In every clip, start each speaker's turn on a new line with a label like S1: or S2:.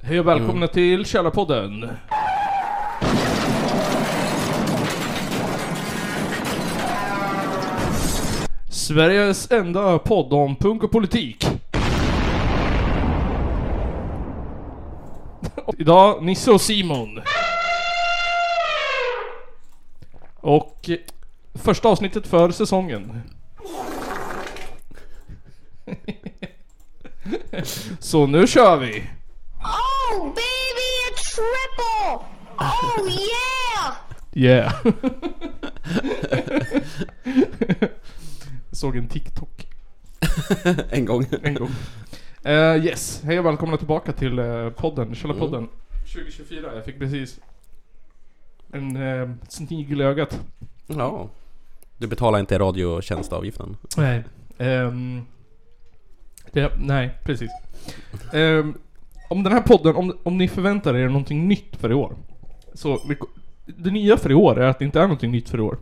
S1: Hej och välkomna till Källarpodden. Sveriges enda podd om punk och politik. Idag Nisse och Simon. Och eh, första avsnittet för säsongen. Så nu kör vi!
S2: Oh, baby, a triple! Oh, yeah!
S1: Yeah. Såg en TikTok
S3: en gång.
S1: en gång. Eh, yes, hej och välkomna tillbaka till eh, podden, Källarpodden. 2024, jag fick precis en eh, snigel i ögat.
S3: Ja. Du betalar inte radiotjänstavgiften.
S1: Nej. Ehm, det, nej, precis. Ehm, om den här podden, om, om ni förväntar er någonting nytt för i år. Så, vi ko- det nya för i år är att det inte är någonting nytt för i år.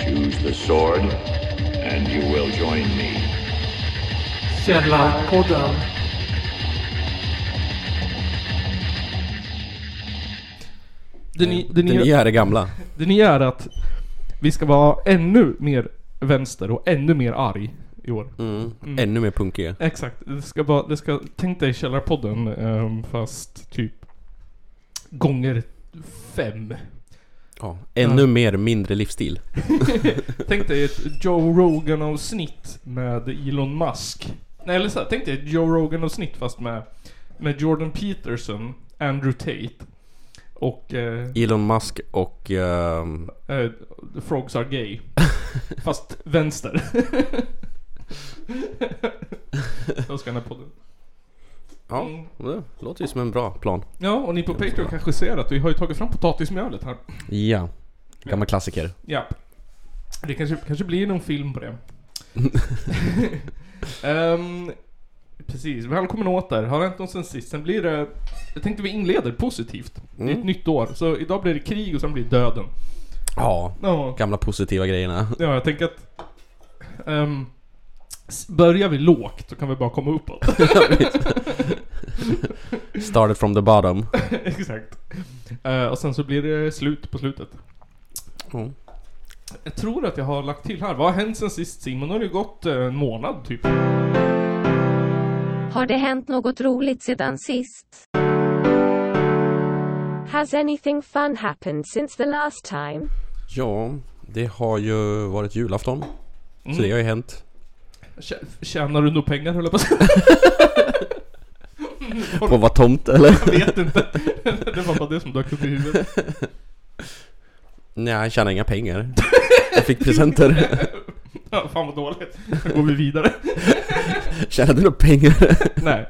S4: Choose the sword, and you will join me.
S5: Källarpodden.
S1: Det, ni, det,
S3: Det
S1: nya,
S3: nya är det gamla.
S1: Det nya är att vi ska vara ännu mer vänster och ännu mer arg i år.
S3: Mm. Ännu mer punkiga.
S1: Exakt. Det ska vara, det ska, tänk dig Källarpodden ehm, fast typ gånger fem.
S3: Ja. Ännu mer mindre livsstil.
S1: Tänk dig ett Joe Rogan avsnitt med Elon Musk. Nej eller så här, tänk dig ett Joe Rogan avsnitt fast med, med Jordan Peterson, Andrew Tate och eh,
S3: Elon Musk och... ehm,
S1: eh, The Frogs Are Gay. Fast vänster. Jag ska den här podden.
S3: ja, det låter ju som en bra plan.
S1: Ja, och ni på Patreon kanske ser att vi har ju tagit fram potatismjölet här.
S3: Ja. Gammal klassiker.
S1: Japp. Det kanske, kanske blir någon film på det. Ehm, precis, välkommen åter. Har hänt något sen sist? Sen blir det... Jag tänkte vi inleder positivt. Det är ett
S3: Mm.
S1: nytt år. Så idag blir det krig och sen blir det döden.
S3: Ja.
S1: Ja,
S3: Gamla positiva grejerna.
S1: ja jag tänker att... ehm, s- börjar vi lågt så kan vi bara komma uppåt.
S3: Started from the bottom.
S1: Exakt. Eh, och sen så blir det slut på slutet.
S3: Mm.
S1: Jag tror att jag har lagt till här. Vad har hänt sen sist Simon? Nu har det ju gått eh, en månad typ.
S6: Har det hänt något roligt sedan sist? Has anything fun happened since the last time?
S3: Ja, det har ju varit julafton. Så det har ju hänt.
S1: Tjä- Tjänar du nog pengar höll jag på att säga.
S3: På att vara tomt eller?
S1: Jag vet inte. Det var bara det som dök upp i huvudet.
S3: Nej, jag tjänar inga pengar. Jag fick presenter.
S1: Ja, fan vad dåligt. Nu går vi vidare.
S3: Tjänade några pengar.
S1: Nej.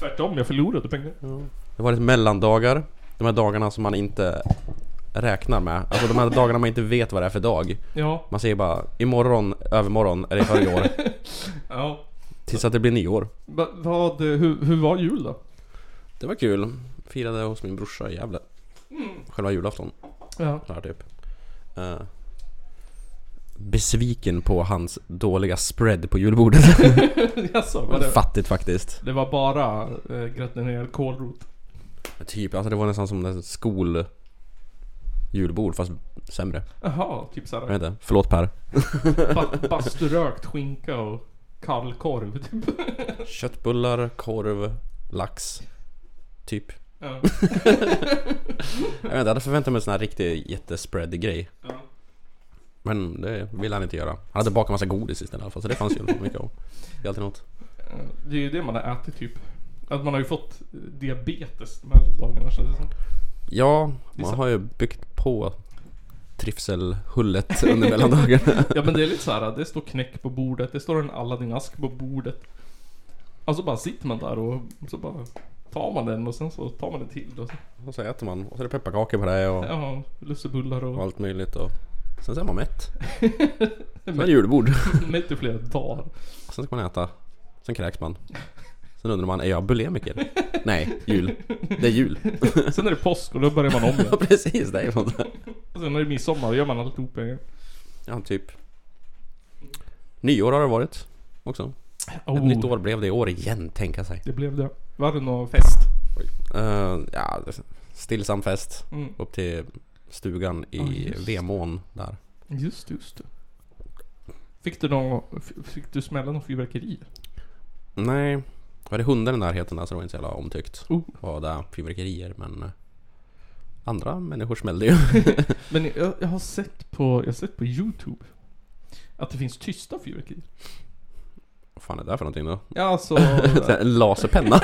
S1: Tvärtom, jag förlorade pengar.
S3: Det har varit mellandagar. De här dagarna som man inte räknar med. Alltså de här dagarna man inte vet vad det är för dag.
S1: Ja,
S3: Man säger bara imorgon, övermorgon, eller förra år.
S1: ja.
S3: Tills att det blir nyår.
S1: Va- vad, eh, hur, hur var jul då?
S3: Det var kul. Firade hos min brorsa i Gävle. Själva julafton.
S1: Ja.
S3: Där typ. Eh, besviken på hans dåliga spread på julbordet.
S1: Jaså, var det,
S3: Fattigt faktiskt.
S1: det var bara eh, gratinerad kålrot.
S3: Typ, alltså det var nästan som en skol... Julbord fast sämre.
S1: Jaha, typ
S3: Jag
S1: såhär
S3: vet inte. Förlåt Per.
S1: ba- basturökt skinka och kallkorv typ.
S3: Köttbullar, korv, lax. Typ.
S1: Ja.
S3: Jag vet inte, jag hade förväntat mig en sån här riktig jättespread grej. Men det ville han inte göra. Han hade bakat massa godis istället i alla fall, så det fanns ju mycket av. Det är alltid något.
S1: Eh, Det är ju det man har ätit typ. Att man har ju fått eh, diabetes de här dagarna känns det som.
S3: Ja,
S1: är
S3: man
S1: så-
S3: har ju byggt på trivselhullet under mellandagarna.
S1: Ja men det är lite så här. det står knäck på bordet, det står en Aladdin-ask på bordet. Alltså bara sitter man där och så bara tar man den och sen så tar man en till. Och så,
S3: Och så äter man, och så är det pepparkakor på det och
S1: ja, lussebullar
S3: och
S1: och
S3: allt möjligt och... Sen så är man mätt. Sen är det julbord.
S1: mätt i flera dagar.
S3: Sen ska man äta. Sen kräks man. Sen undrar man, är jag bulimiker? Nej, jul. Det är jul.
S1: Sen är det påsk och då börjar man om igen.
S3: Ja precis, det är sånt där.
S1: Och sen är det midsommar och gör man alltihop igen.
S3: Ja, typ. Nyår har det varit också.
S1: Oh,
S3: Ett nytt år blev det i år igen, tänka sig.
S1: Det blev det. Var det någon fest?
S3: Eh, ja, stillsam fest.
S1: Mm.
S3: Upp till stugan i
S1: Ja, just.
S3: Vemån där.
S1: Just just det. Fick du någon, f- fick du smälla någon fyrverkeri?
S3: Nej, var det hundar i närheten där så det var inte så jävla omtyckt.
S1: Oh.
S3: Var där fyrverkerier men eh, andra människor smällde ju.
S1: Men jag, jag har sett på, jag har sett på YouTube att det finns tysta fyrverkerier.
S3: Vad fan är det där för någonting då?
S1: Ja, alltså,
S3: Så här, En laserpenna?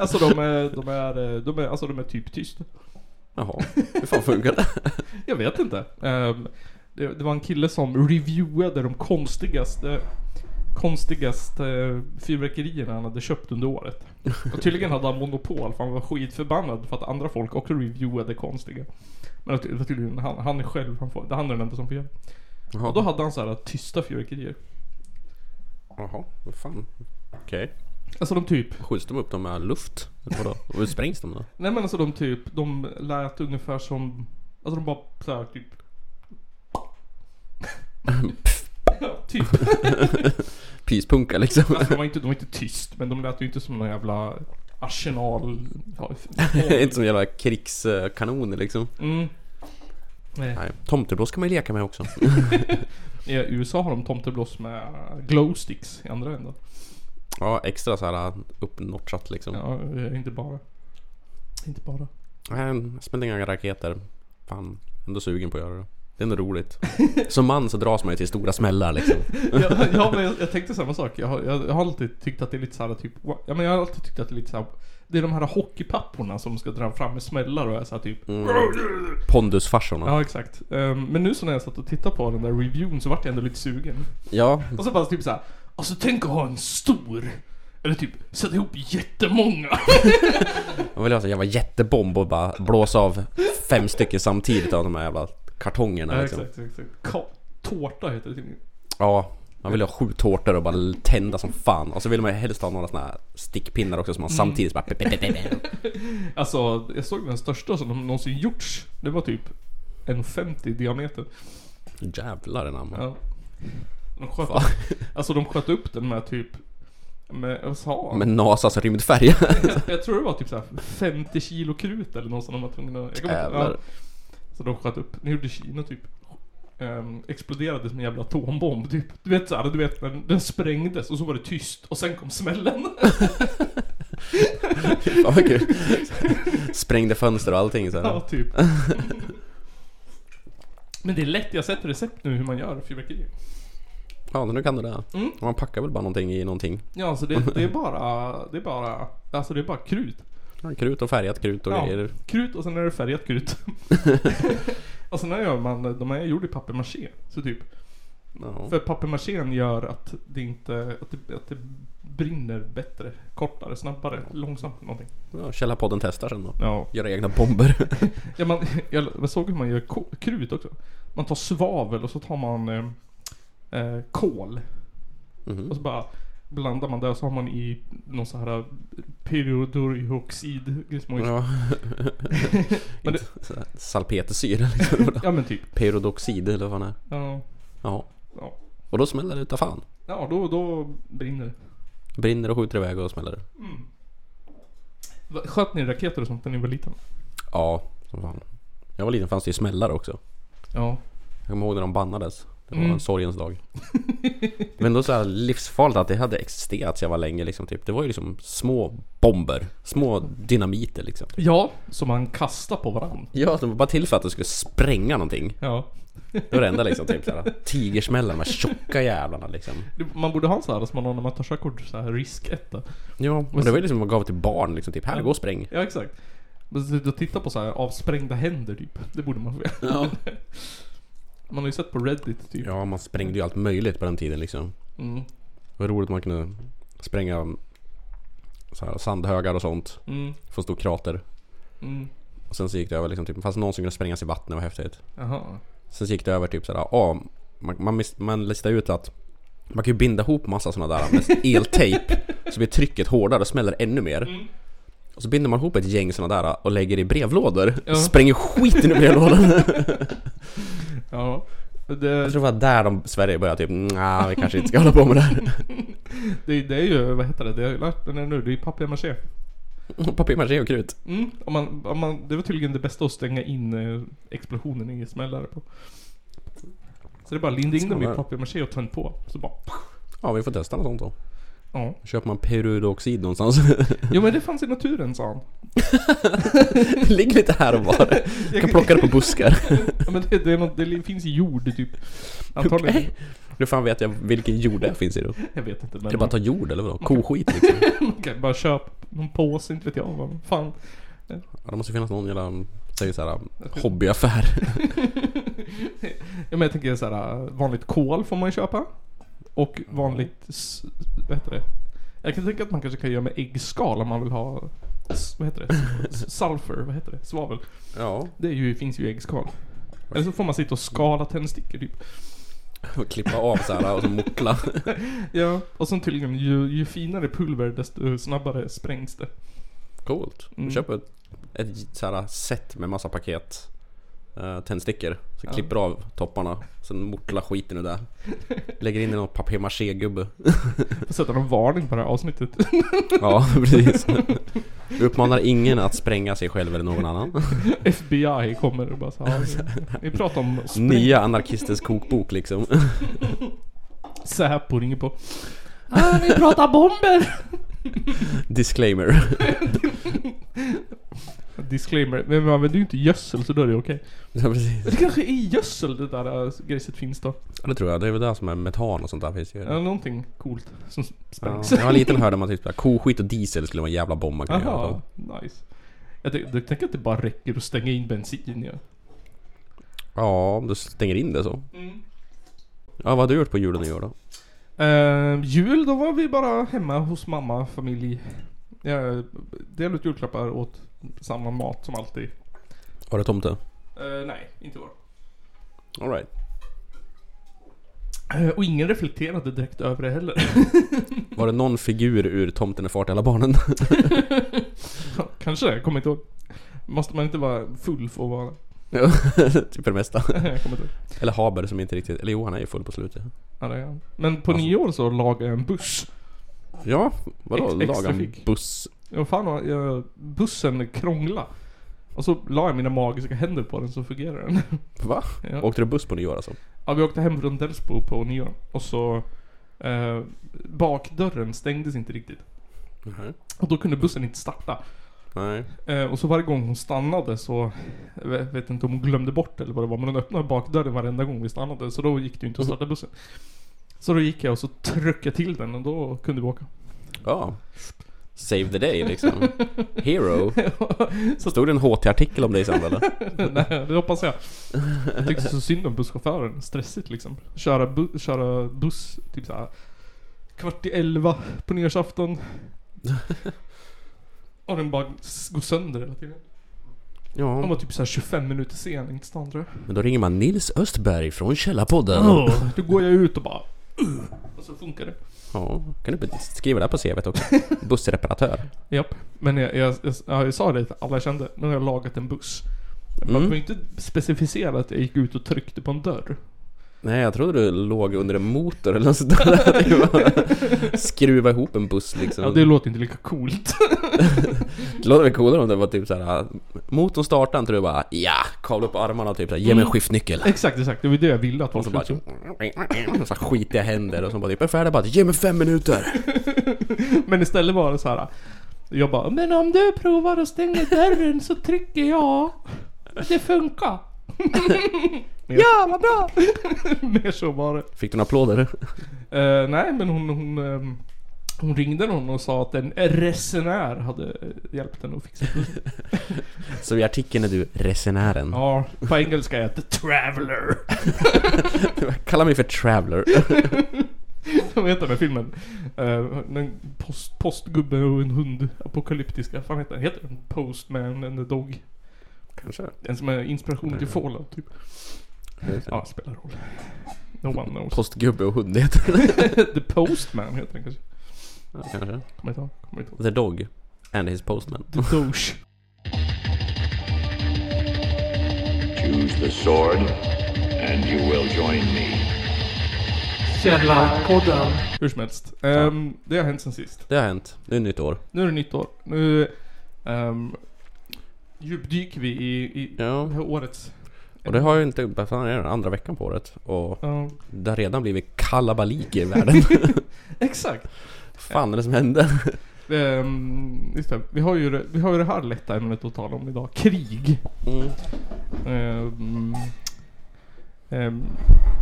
S1: alltså de är, de är, de är, alltså de är typ tysta.
S3: Jaha, hur fan funkar det?
S1: Jag vet inte. Ehm, det, det var en kille som reviewade de konstigaste konstigaste fyrverkerierna han hade köpt under året. Och tydligen hade han monopol för han var skitförbannad för att andra folk också reviewade konstiga. Men att- det var tydligen han, han är själv, han, får, han är den enda som får göra.
S3: Jaha,
S1: Och då hade han så här tysta fyrverkerier.
S3: Jaha vad fan? Okej.
S1: Alltså de typ,
S3: Skjuts de upp dem med luft? Eller vadå? Och hur sprängs de då?
S1: nej men alltså de typ, de lät ungefär som, alltså de bara så här typ. ja, typ.
S3: Pyspunka liksom?
S1: Alltså, de, var inte, de var inte tyst, men de lät ju inte som någon jävla arsenal... Ja,
S3: inte som jävla krigskanoner liksom.
S1: Mm. Nej.
S3: Nej, tomteblås kan man ju leka med också.
S1: I USA har de tomteblås med glowsticks i andra änden.
S3: Ja, extra så här äh, uppnotchat liksom.
S1: Ja, eh, inte bara. Inte bara.
S3: Nej, jag spände inga raketer. Fan, ändå sugen på att göra det. Det är ändå roligt. Som man så dras man ju till stora smällar liksom.
S1: jag, jag, men jag, jag tänkte samma sak. Jag har, jag, jag har alltid tyckt att det är lite såhär typ... Ja men jag har alltid tyckt att det är lite såhär... Det är de här hockeypapporna som ska dra fram med smällar och är såhär typ...
S3: Pondusfarsorna. Ja.
S1: Ja exakt. Ehm, men nu så när jag satt och tittade på den där reviewn så vart jag ändå lite sugen.
S3: ja.
S1: Och så bara typ såhär, alltså tänk att ha en stor Eller typ, sätta ihop jättemånga
S3: Jag vill ha så jävla jättebomb och bara blåsa av fem stycken samtidigt av de här jävla kartongerna
S1: ja,
S3: liksom.
S1: exakt, exakt. Ka- Tårta heter det tydligen
S3: Ja. Man vill ha sju tårtor och bara tända som fan. Och så vill man ju helst ha några såna här stickpinnar också som
S1: Mm.
S3: man samtidigt bara...
S1: Alltså, jag såg den största som någonsin gjorts Det var typ en 50 i diameter
S3: Jävlar anamma.
S1: ja. de sköt,
S3: Fan.
S1: Alltså de sköt upp den med typ med, vad sa han?
S3: Med Nasas rymdfärja.
S1: Jag, jag tror det var typ såhär 50 kilo krut eller något som de var tvungna att... jag kommer inte-
S3: Jävlar.
S1: Så de sköt upp, nu gjorde Kina typ ehm, Exploderade som en jävla atombomb typ Du vet såhär, du vet när den sprängdes och så var det tyst och sen kom smällen
S3: Fan vad kul. Sprängde fönster och allting så här.
S1: Ja typ Men det är lätt, jag har sett recept nu hur man gör fyrverkerier
S3: Ja, nu kan du det.
S1: Mm.
S3: Man packar väl bara någonting i någonting.
S1: Ja alltså det, det är bara, det är bara Alltså det är bara krut
S3: Ja, Krut och färgat krut och
S1: Ja,
S3: grejer.
S1: krut och sen är det färgat krut Och sen gör man, de är gjorda i papier-maché Så typ
S3: Ja.
S1: För papier-machén gör att det inte, att det, att det brinner bättre, kortare, snabbare, långsamt någonting.
S3: Ja, Källarpodden testar sen då.
S1: Ja.
S3: Göra egna bomber.
S1: ja man, jag, jag såg hur man gör ko- krut också. Man tar svavel och så tar man eh, eh, kol.
S3: Mhm.
S1: Och så bara blandar man det och så har man i någon sån här eh, periodorioxid. Ja.
S3: Ja.
S1: Men det-
S3: Inte så här Salpetersyra liksom.
S1: ja men typ.
S3: Perodoxid eller vad fan är.
S1: Ja.
S3: Ja.
S1: Ja.
S3: Och då smäller det utav fan.
S1: Ja då, då brinner det.
S3: Brinner och skjuter iväg och smäller.
S1: Va- Sköt ni raketer och sånt när ni var liten?
S3: Ja, som fan. Jag var liten fanns det ju smällare också.
S1: Ja.
S3: Jag kommer ihåg när de bannades. Det var
S1: Mm.
S3: en sorgens dag. Men då så här livsfarligt att det hade existerat så jag var länge liksom. Typ. Det var ju liksom små bomber. Små dynamiter liksom.
S1: Ja, som man kastar på varandra.
S3: Ja, de var bara till för att de skulle spränga någonting.
S1: Ja.
S3: Det var det enda liksom, typ såhär tigersmällar, de här tjocka jävlarna liksom.
S1: Det- Man borde ha en sån här som man har när man tar körkort, så här risk etta.
S3: Ja, och det var ju liksom man gav till barn liksom, typ här, gå och spräng.
S1: Ja exakt. Men sitta och titta på så här avsprängda händer typ. Det borde man få göra.
S3: Ja.
S1: Man har ju sett på Reddit typ.
S3: ja, man sprängde ju allt möjligt på den tiden liksom.
S1: Mm.
S3: Det var roligt man kunde spränga så här, sandhögar och sånt,
S1: Mm.
S3: få stor krater.
S1: Mm.
S3: Och sen så gick det över liksom, typ, fast någon som kunde sprängas i vattnet, var häftigt.
S1: Jaha.
S3: Sen så gick det över typ såhär, ja, man, man, mis- man listade ut att man kan ju binda ihop massa sådana där med eltejp Så blir trycket hårdare och smäller ännu mer
S1: Mm.
S3: Och så binder man ihop ett gäng sådana där och lägger i brevlådor
S1: Ja.
S3: Spränger skiten ur brevlådan
S1: Ja. Det,
S3: Jag tror det var där de, Sverige började typ, nja, vi kanske inte ska hålla på med det här.
S1: det, det är ju, vad heter det, det har jag lärt mig nu, det är ju papier-maché.
S3: Papier-maché och krut.
S1: Mm, om man, om man, det var tydligen det bästa att stänga in eh, explosionen i smällare på. Så det är bara att linda in dem i
S3: Smällare.
S1: papier-maché och tänd på. Så bara...
S3: Ja, vi får testa något sånt då.
S1: Ja.
S3: Köper man perudoxid någonstans?
S1: Jo men det fanns i naturen sa han.
S3: Ligg lite här och var. Du kan plocka det på buskar.
S1: Ja, men det, det, är något, det finns i jord typ. Antagligen.
S3: Okej. Nu fan vet jag vilken jord det finns i då. Kan
S1: Jag vet inte men...
S3: du bara ta jord eller vadå? Koskit liksom?
S1: Okej, bara köp någon påse, inte vet jag vad fan.
S3: Ja, det måste finnas någon jävla, säg såhär, hobbyaffär.
S1: Ja, men jag tänker såhär, vanligt kol får man ju köpa. Och vanligt, s- vad heter det? Jag kan tänka att man kanske kan göra med äggskal om man vill ha, s- vad heter det? S- Sulfur, vad heter det? Svavel.
S3: Ja,
S1: Det är ju, finns ju i äggskal. Eller så får man sitta och skala tändstickor typ.
S3: och klippa av såhär och så muckla.
S1: Ja, och sen tydligen ju, ju finare pulver desto snabbare sprängs det.
S3: Coolt.
S1: Mm.
S3: Du köper ett, ett såhär set med massa paket eh, tändstickor. Så klipper av topparna. Sen mortlar skiten ur det. Lägger in i någon papier-maché-gubbe.
S1: Får sätta någon varning på det här avsnittet.
S3: Ja, precis. Vi uppmanar ingen att spränga sig själv eller någon annan.
S1: FBI kommer och bara så här, Vi pratar om spräng-
S3: Nya anarkisters kokbok liksom.
S1: Säpo ringer på. Ah, vi pratar bomber!
S3: Disclaimer.
S1: Disclaimer, men man använder ju inte gödsel så då är det okej.
S3: Ja, precis.
S1: Men Det kanske är i gödsel det där äh, grejset finns då.
S3: Ja, det tror jag. Det är väl det som är metan och sånt där finns ju.
S1: Eller någonting coolt som
S3: Ja.
S1: sprängs.
S3: När jag var liten hörde man typ såhär, koskit och diesel skulle vara en jävla bomb man kunde göra.
S1: Jaha,
S3: på.
S1: nice. Jag, tänk, jag tänker att det bara räcker att stänga in bensin ja.
S3: Ja, om du stänger in det så.
S1: Mm.
S3: Ja, vad har du gjort på julen i år då?
S1: Ehm, jul, då var vi bara hemma hos mamma, familj. Jag delade ut julklappar åt samma mat som alltid.
S3: Har du tomte?
S1: Eh, nej, inte var.
S3: Alright.
S1: Eh, och ingen reflekterade direkt över det heller.
S3: Var det någon figur ur Tomten är far till alla barnen?
S1: Kanske, jag kommer inte ihåg. Måste man inte vara full för att vara
S3: Ja, typ för det mesta.
S1: Jag kommer inte ihåg.
S3: Eller Haber som inte riktigt... Eller Johan är ju full på slutet.
S1: Ja, det är jag. Men på nyår så lagade jag en buss.
S3: Ja, vadå?
S1: Ex-
S3: Laga
S1: extra
S3: en
S1: fick.
S3: buss.
S1: Jag fan vad- jag, bussen krångla. Och så la jag mina magiska händer på den så fungerar den.
S3: Va?
S1: Ja.
S3: Åkte du buss på nyår alltså?
S1: Ja, vi åkte hem från Delsbo på nyår. Och så... Eh, bakdörren stängdes inte riktigt.
S3: Nej.
S1: Och då kunde bussen inte starta.
S3: Nej.
S1: Eh, och så varje gång hon stannade så... Jag vet- vet inte om hon glömde bort eller vad det var, men hon öppnade bakdörren varenda gång vi stannade. Så då gick det ju inte att starta bussen. Så då gick jag och så tryckte jag till den och då kunde vi åka.
S3: Ja. Save the day liksom. Hero.
S1: Så-
S3: Stod det en HT-artikel om dig sen eller?
S1: Nej, det hoppas jag. Jag tyckte så synd om busschauffören. Stressigt liksom. Köra, bu- köra buss typ såhär kvart i elva på nyårsafton. Och den bara s- går sönder hela tiden. Han var
S3: Ja.
S1: typ såhär 25 minuter sen in till stan tror jag.
S3: Men då ringer man Nils Östberg från Källarpodden.
S1: Då går jag ut och bara... "Ugh." Och så funkar det.
S3: Ja, kan du skriva det här på CVt också? Bussreparatör.
S1: Japp. Men jag, jag, jag, ja, jag sa det till alla jag kände. Nu har jag lagat en buss. Man
S3: Mm.
S1: behöver ju inte specificera att jag gick ut och tryckte på en dörr.
S3: Nej, jag trodde du låg under en motor eller något sånt där. Det var- Skruva ihop en buss liksom.
S1: Ja, det låter inte lika coolt.
S3: Det låter väl coolare om det var typ såhär Motorn startar inte du bara ja, kavla upp armarna och typ såhär, ge mig en skiftnyckel.
S1: Exakt, exakt. Det var det jag ville att
S3: Och
S1: folk
S3: så
S1: skulle
S3: bara
S1: tro.
S3: så här skitiga händer och så bara typ är färdig bara ge mig fem minuter.
S1: Men istället var det så här. Jag bara, men om du provar att stänga dörren så trycker jag. Det funkar. ja, vad bra! Mer så var det.
S3: Fick du några applåder?
S1: Eh, nej, men hon, hon, ehm, hon ringde någon och sa att en resenär hade eh, hjälpt henne att fixa bussen.
S3: Så i artikeln är du resenären.
S1: Ja, på engelska är jag the traveler.
S3: Kalla mig för traveler.
S1: Vad heter den här filmen? Uh, en post, postgubbe och en hund. Apokalyptiska. Vad fan heter den? Heter den Postman and the Dog?
S3: Kanske.
S1: Den som är inspiration till Fallout typ. Ja, spelar roll. No one knows.
S3: Postgubbe och hund heter det.
S1: The Postman heter den kanske.
S3: Ja, kanske. Alltså,
S1: Kommer inte ihåg. Kommer inte ihåg.
S3: The dog. And his postman.
S1: The Doge.
S4: Choose the sword, and you will join me.
S5: Källarpodden.
S1: Hur som helst. Ehm, det har hänt sen sist.
S3: Det har hänt. Det är nytt år.
S1: Nu är det nytt år. Nu um, djupdyker vi i, i det
S3: Ja.
S1: här årets...
S3: Och det har ju inte... Vad fan är det? Andra veckan på året. Och
S1: Ja,
S3: det har redan blivit kalabalik i världen.
S1: exakt.
S3: fan är det som händer?
S1: Ehm, just det. Vi har, ju det, vi har ju det här lätta ämnet att tala om idag. Krig.
S3: Mm.
S1: Ehm, ehm,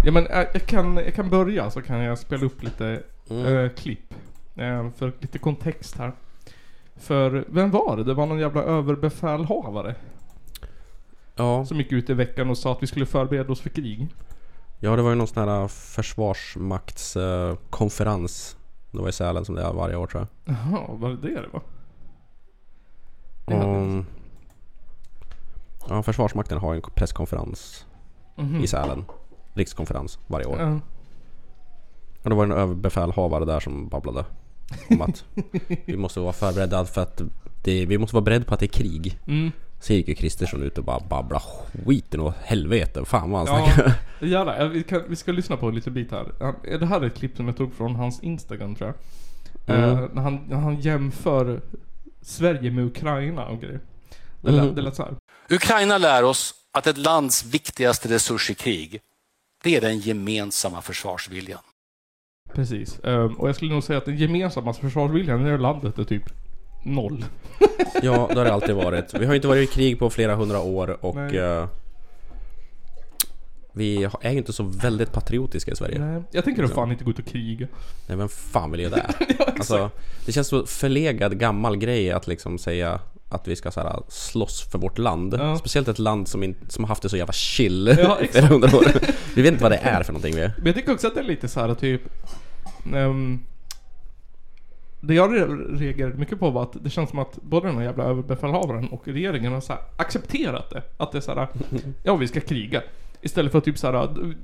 S1: ja men eh, jag kan, jag kan börja så kan jag spela upp lite
S3: Mm.
S1: eh, klipp. Eh, för lite kontext här. För vem var det? Det var någon jävla överbefälhavare
S3: Ja.
S1: som gick ut i veckan och sa att vi skulle förbereda oss för krig.
S3: ja, det var ju någon sån här försvarsmaktskonferens. Det var i Sälen som det är varje år tror jag.
S1: Jaha, var det det det var? Det hade jag
S3: Um, ja, Försvarsmakten har en presskonferens
S1: Mhm.
S3: i Sälen. Rikskonferens varje år.
S1: Ja.
S3: Och då var det en överbefälhavare där som babblade om att vi måste vara förberedda för att det, vi måste vara beredda på att det är krig.
S1: Mm.
S3: Sen gick ju Kristersson ut och bara babbla skiten åt helvete. Fan vad han
S1: Ja,
S3: snackar.
S1: jävlar. Ja, Vi, kan, vi ska lyssna på en liten bit här. Han- Det här är ett klipp som jag tog från hans Instagram tror jag.
S3: Mm.
S1: Eh, när, han, när han jämför Sverige med Ukraina och grejer. Det lät, det lät så här.
S7: Ukraina lär oss att ett lands viktigaste resurs i krig, det är den gemensamma försvarsviljan.
S1: Precis. Ehm, och jag skulle nog säga att den gemensamma försvarsviljan i det här landet är typ noll.
S3: Ja, det har det alltid varit. Vi har ju inte varit i krig på flera hundra år och
S1: Nej.
S3: eh, vi har- är ju inte så väldigt patriotiska i Sverige. Nej,
S1: Nej. Jag tänker då fan inte gå ut och kriga.
S3: vem fan vill göra det? alltså, det känns så förlegad gammal grej att liksom säga att vi ska så här, slåss för vårt land.
S1: Ja.
S3: Speciellt ett land som, in, som har haft det så jävla chill
S1: Ja,
S3: i
S1: exakt.
S3: flera hundra år. Vi vet inte vad det är för någonting vi är.
S1: Men jag tycker också att det är lite så här typ... ehm, det jag re- reagerade mycket på var att det känns som att både den här jävla överbefälhavaren och regeringen har så här accepterat det. Att det är så här, ja vi ska kriga. Istället för att typ så här, d-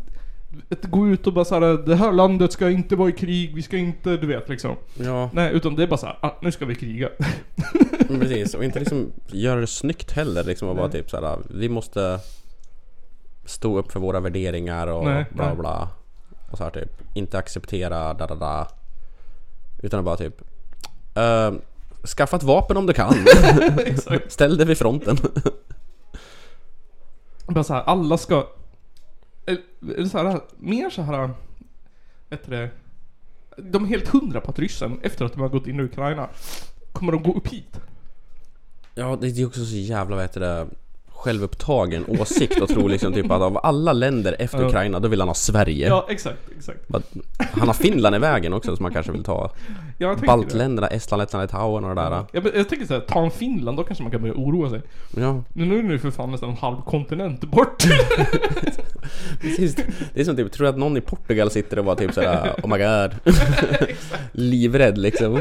S1: att gå ut och bara så här, det här landet ska inte vara i krig, vi ska inte, du vet liksom.
S3: Ja,
S1: Nej, utan det är bara så här, ah, nu ska vi kriga.
S3: precis. Och inte liksom göra det snyggt heller. Liksom, och bara typ så här, vi måste stå upp för våra värderingar och
S1: Nej,
S3: bla
S1: nej.
S3: bla. Och så här, typ. Inte acceptera da da da. Utan bara typ... Uh, skaffa ett vapen om du kan.
S1: Exakt.
S3: Ställ dig vid fronten.
S1: Bara såhär, alla ska... Eller eller så här, mer så här... Vet du det? De är helt hundra på att ryssen, efter att de har gått in i Ukraina, kommer de gå upp hit.
S3: Ja, det är också så jävla vad heter det, självupptagen åsikt och tro liksom typ att av alla länder efter
S1: Ja.
S3: Ukraina, då vill han ha Sverige.
S1: Ja, exakt, exakt.
S3: Bara- Han har Finland i vägen också som han kanske vill ta.
S1: Ja, jag tänker
S3: Baltländerna, Estland, Lettland, Litauen och det där.
S1: det. Jag, men jag tänker såhär, ta en Finland, då kanske man kan börja oroa sig.
S3: Ja,
S1: Men nu är det ju för fan nästan en halv kontinent bort.
S3: precis. Det är som typ, tror jag att någon i Portugal sitter och bara typ såhär Oh my god. Livrädd liksom.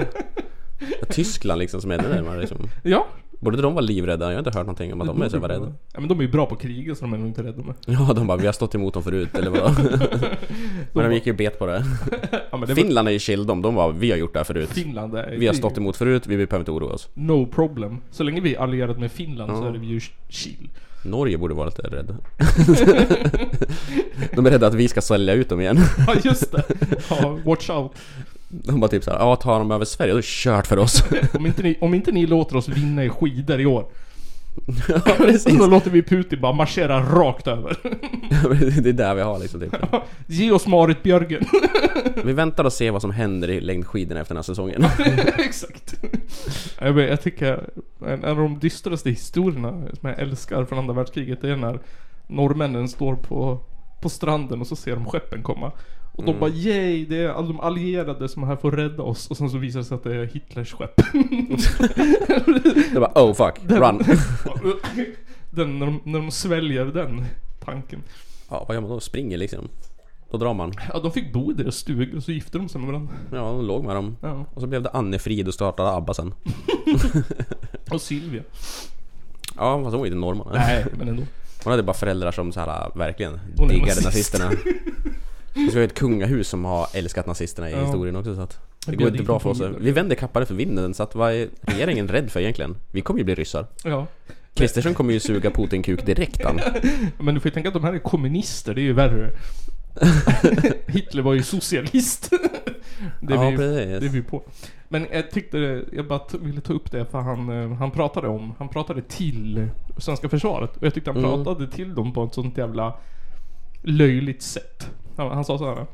S3: Tyskland liksom som är ännu närmare liksom.
S1: ja.
S3: Borde de vara livrädda? Jag har inte hört någonting om att de är så jävla rädda.
S1: Ja men de är ju bra på kriget så de är nog inte rädda med.
S3: Ja, de bara vi har stått emot dem förut eller vad? Men de gick ju bet på det.
S1: Ja, men det var-
S3: Finland är ju chill de, de bara vi har gjort det här förut.
S1: Finland är
S3: Vi har stått emot förut, vi behöver inte oroa oss.
S1: No problem. Så länge vi är allierade med Finland så
S3: Ja.
S1: är vi ju chill.
S3: Norge borde vara lite rädda. De är rädda att vi ska sälja ut dem igen.
S1: Ja just det. Ja, watch out.
S3: De bara typ såhär, ja tar de över Sverige, då är det kört för oss.
S1: Om inte, ni, om inte ni låter oss vinna i skidor i år,
S3: Ja, precis.
S1: då låter vi Putin bara marschera rakt över.
S3: Det är där vi har liksom typ.
S1: Ge oss Marit Björgen.
S3: Vi väntar och ser vad som händer i längdskidorna efter den här säsongen.
S1: Exakt. Jag, vet, jag tycker en, en av de dystraste historierna som jag älskar från andra världskriget, det är när norrmännen står på, på stranden och så ser de skeppen komma. Och
S3: Mm.
S1: de bara yay, det är all de allierade som är här för att rädda oss. Och sen så visar det sig att det är Hitlers skepp.
S3: De bara oh fuck, run.
S1: den, när, de, när de sväljer den tanken.
S3: Ja, vad gör man då? Springer liksom. Då drar man.
S1: Ja, de fick bo i deras stugor och så gifte de sig med varandra.
S3: Ja, de låg med dem.
S1: Ja.
S3: Och så blev det Annefrid och startade ABBA sen.
S1: Och Silvia.
S3: Ja, fast hon var inte norrman.
S1: Nej, men ändå.
S3: Hon hade bara föräldrar som så här verkligen
S1: Hon är
S3: diggade
S1: nazist.
S3: nazisterna. Vi har ju ett kungahus som har älskat nazisterna i
S1: Ja.
S3: historien också så att
S1: Det
S3: det går
S1: går
S3: inte
S1: dit
S3: bra för oss.
S1: vi vill.
S3: Vi vänder kappan efter vinden så att vad är regeringen rädd för egentligen? Vi kommer ju bli ryssar.
S1: Ja.
S3: Kristersson kommer ju suga Putin-kuk direkt han.
S1: Men du får ju tänka att de här är kommunister, det är ju värre. Hitler var ju socialist. det,
S3: Ja,
S1: vi,
S3: precis.
S1: det är vi på. Men jag tyckte, det- jag bara t- ville ta upp det för han, eh, han pratade om, han pratade till svenska försvaret. Och jag tyckte han
S3: Mm.
S1: pratade till dem på ett sånt jävla löjligt sätt. Han, han sa så här.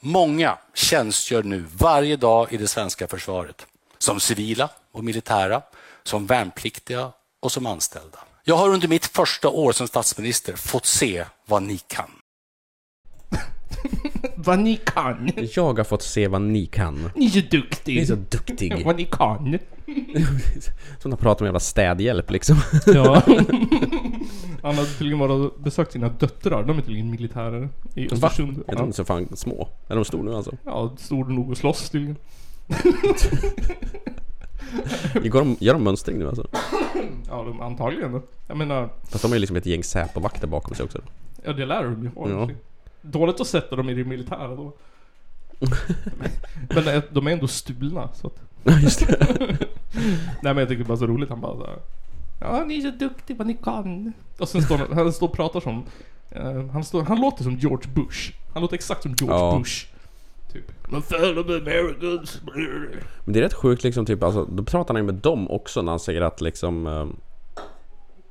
S7: Många tjänstgör nu varje dag i det svenska försvaret. Som civila och militära, som värnpliktiga och som anställda. Jag har under mitt första år som statsminister fått se vad ni kan.
S1: Vad ni kan!
S3: Jag har fått se vad ni kan.
S1: Ni är så
S3: Ni är
S1: duktiga!
S3: så duktig.
S1: Mm. Vad ni kan!
S3: Sådana pratar om jävla städhjälp liksom.
S1: Ja. Han hade tydligen varit och besökt sina döttrar, de är tydligen militärer i Östersund.
S3: Är
S1: Ja.
S3: de så fan små? Är de stora nu alltså?
S1: Ja, stor nog att slåss tydligen. Mm.
S3: Gör de, gör de mönstring nu alltså?
S1: Ja, de, antagligen då. Jag menar,
S3: Fast de har ju liksom ett gäng Säpo-vakter bakom sig också.
S1: ja det lär de ju ha.
S3: Ja.
S1: Dåligt att sätta dem i det militära då. men eh, de är ändå stulna så att...
S3: Ja just det.
S1: Nej men jag tycker det är bara så roligt, han bara såhär Ja ni är så duktiga vad ni kan Och sen står han, han står och pratar som eh, han, står, han låter som George Bush Han låter exakt som George
S3: Ja.
S1: Bush Typ Men fan of Americans
S3: Men det är rätt sjukt liksom typ alltså, då pratar han ju med dem också när han säger att liksom ehm,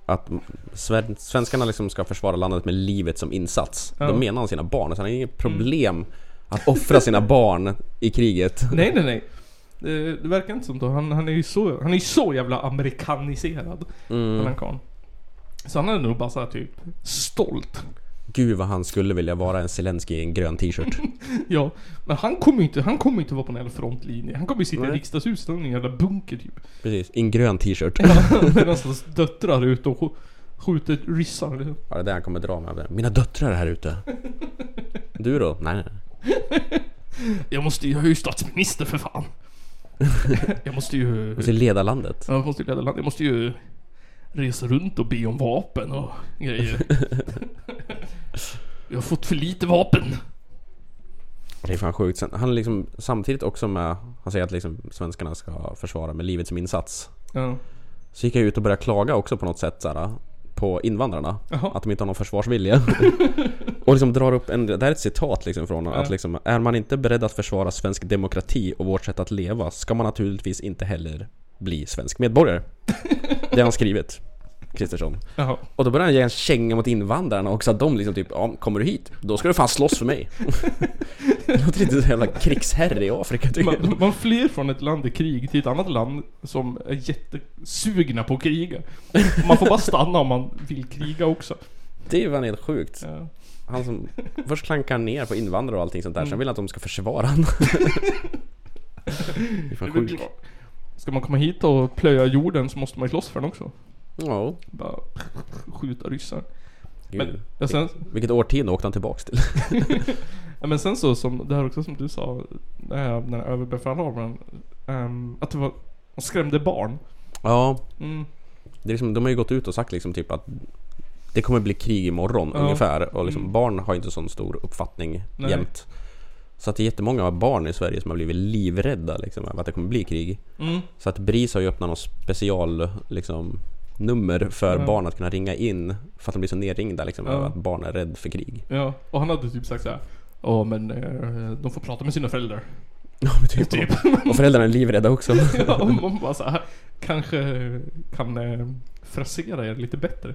S3: att sven- svenskarna liksom ska försvara landet med livet som insats.
S1: Ja. Mm.
S3: Då menar han sina barn. Så han har inget problem att offra sina barn i kriget.
S1: Nej nej nej det, det verkar inte som då. Han, han är ju så, han är ju så jävla amerikaniserad Den här karln Så han är nog bara såhär typ stolt
S3: Gud vad han skulle vilja vara en Zelensky i en grön t-shirt.
S1: Ja Men han kommer ju inte, han kommer ju inte vara på någon jävla frontlinje Han kommer ju sitta i riksdagshuset i en jävla bunker typ
S3: Precis, i en grön t-shirt.
S1: Medan hans döttrar är ute och sk- skjuter ryssar. liksom.
S3: Ja, det är det han kommer dra med. Mina döttrar är här ute. Du då? Nej, nej.
S1: Jag måste ju, jag är ju statsminister för fan. Jag måste ju, eh,
S3: Du ska leda landet.
S1: jag måste ju leda landet. Jag måste ju resa runt och be om vapen och grejer. Jag har fått för lite vapen.
S3: Det är fan sjukt. Sen, han är liksom samtidigt också med... Han säger att liksom svenskarna ska försvara med livet som insats.
S1: Ja.
S3: Så gick jag ut och började klaga också på något sätt så här, På invandrarna.
S1: Jaha.
S3: Att de inte har någon försvarsvilja. och liksom drar upp en... Det här är ett citat liksom från att liksom... Är man inte beredd att försvara svensk demokrati och vårt sätt att leva ska man naturligtvis inte heller bli svensk medborgare. det har han skrivit. Kristersson.
S1: Jaha.
S3: Och då börjar han ge en känga mot invandrarna också, att de liksom typ ja, kommer du hit, då ska du fan slåss för mig. det låter lite som en jävla krigsherre i Afrika tycker jag.
S1: Man, man flyr från ett land i krig till ett annat land som är jättesugna på att kriga. Och Man får bara stanna om man vill kriga också.
S3: Det är ju fan helt sjukt.
S1: Ja.
S3: Han som, först klankar han ner på invandrare och allting sånt där, sen vill han att de ska försvara honom. det är fan sjukt.
S1: Ska man komma hit och plöja jorden så måste man ju slåss för den också.
S3: Ja,
S1: Bara skjuta ryssar. Men,
S3: gud.
S1: ja, sen,
S3: Vilket årtionde åkte han tillbaks till?
S1: ja, men sen så som det här också som du sa, det här, den här överbefälhavaren. ehm, att det var, han skrämde barn.
S3: Ja,
S1: Mm.
S3: det är liksom, de har ju gått ut och sagt liksom typ att det kommer bli krig imorgon
S1: Ja.
S3: ungefär och liksom
S1: Mm.
S3: barn har ju inte sån stor uppfattning
S1: Nej.
S3: jämt. Så att det är jättemånga barn i Sverige som har blivit livrädda liksom över att det kommer bli krig.
S1: Mm.
S3: Så att BRIS har ju öppnat någon special liksom, nummer för
S1: Ja.
S3: barn att kunna ringa in för att de blir så nerringda liksom
S1: Ja.
S3: över att barn är rädd för krig.
S1: Ja, och han hade typ sagt såhär. Ja men eh, de får prata med sina föräldrar.
S3: Ja, men typ.
S1: Typ.
S3: Och föräldrarna är livrädda också.
S1: Ja, och man bara såhär. Kanske kan eh, frasera er lite bättre.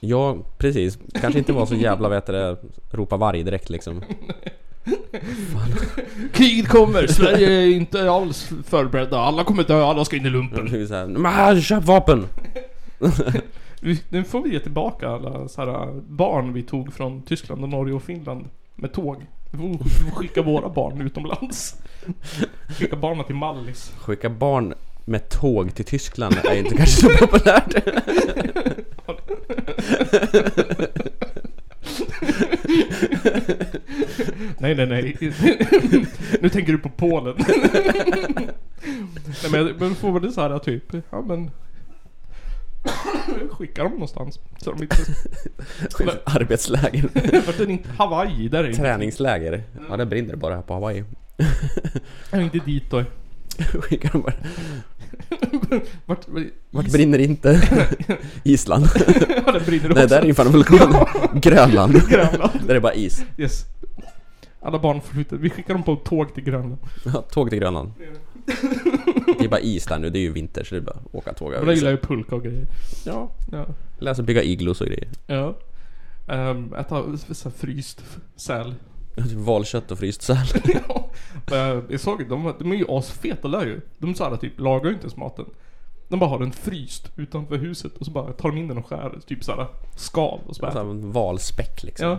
S3: ja, precis. Kanske inte vara så jävla vet du, det, ropa varg direkt liksom.
S1: Kriget kommer! Sverige är inte alls förberedda. Alla kommer dö, alla ska in i lumpen.
S3: Det är så här, "Men här, Köp vapen!
S1: Vi- Nu får vi ge tillbaka alla så här äh, barn vi tog från Tyskland och Norge och Finland med tåg. Vi får vi får skicka våra barn utomlands. Skicka barnen till Mallis.
S3: Skicka barn med tåg till Tyskland är inte kanske så populärt.
S1: Nej, nej, nej. nu tänker du på Polen. nej, men, jag- men får väl det så här typ, ja men... Skicka dem någonstans. Så de inte...
S3: Arbetsläger.
S1: Vart är inte Hawaii? Där är inte...
S3: Träningsläger. Ja, det brinner bara här på Hawaii.
S1: Jag är inte dit då.
S3: Skicka dem bara.
S1: Vart, vart,
S3: Vart
S1: is-
S3: brinner inte? Island?
S1: Ja, det brinner
S3: Nej,
S1: också.
S3: där är ju fan en vulkan. Grönland.
S1: Grönland.
S3: Där är bara is.
S1: Yes. Alla barn får flytta. Vi skickar dem på tåg till Grönland.
S3: Ja, Tåg till Grönland. Det är bara is där nu, det är ju vinter så det är bara att åka tåg
S1: De
S3: över
S1: gillar
S3: isen.
S1: ju pulka och grejer.
S3: Ja,
S1: Ja.
S3: lära sig bygga igloos och grejer.
S1: ja. Um, äta så här fryst f- säl.
S3: Alltså, Valkött och fryst säl.
S1: Ja. Eh, Jag såg de, de är ju asfeta där ju. De sa det typ, lagar ju inte ens maten. De bara har den fryst utanför huset och så bara tar de in den och skär typ såhär skal och så bara
S3: Alltså,
S1: äter.
S3: en valspäck liksom.
S1: Ja.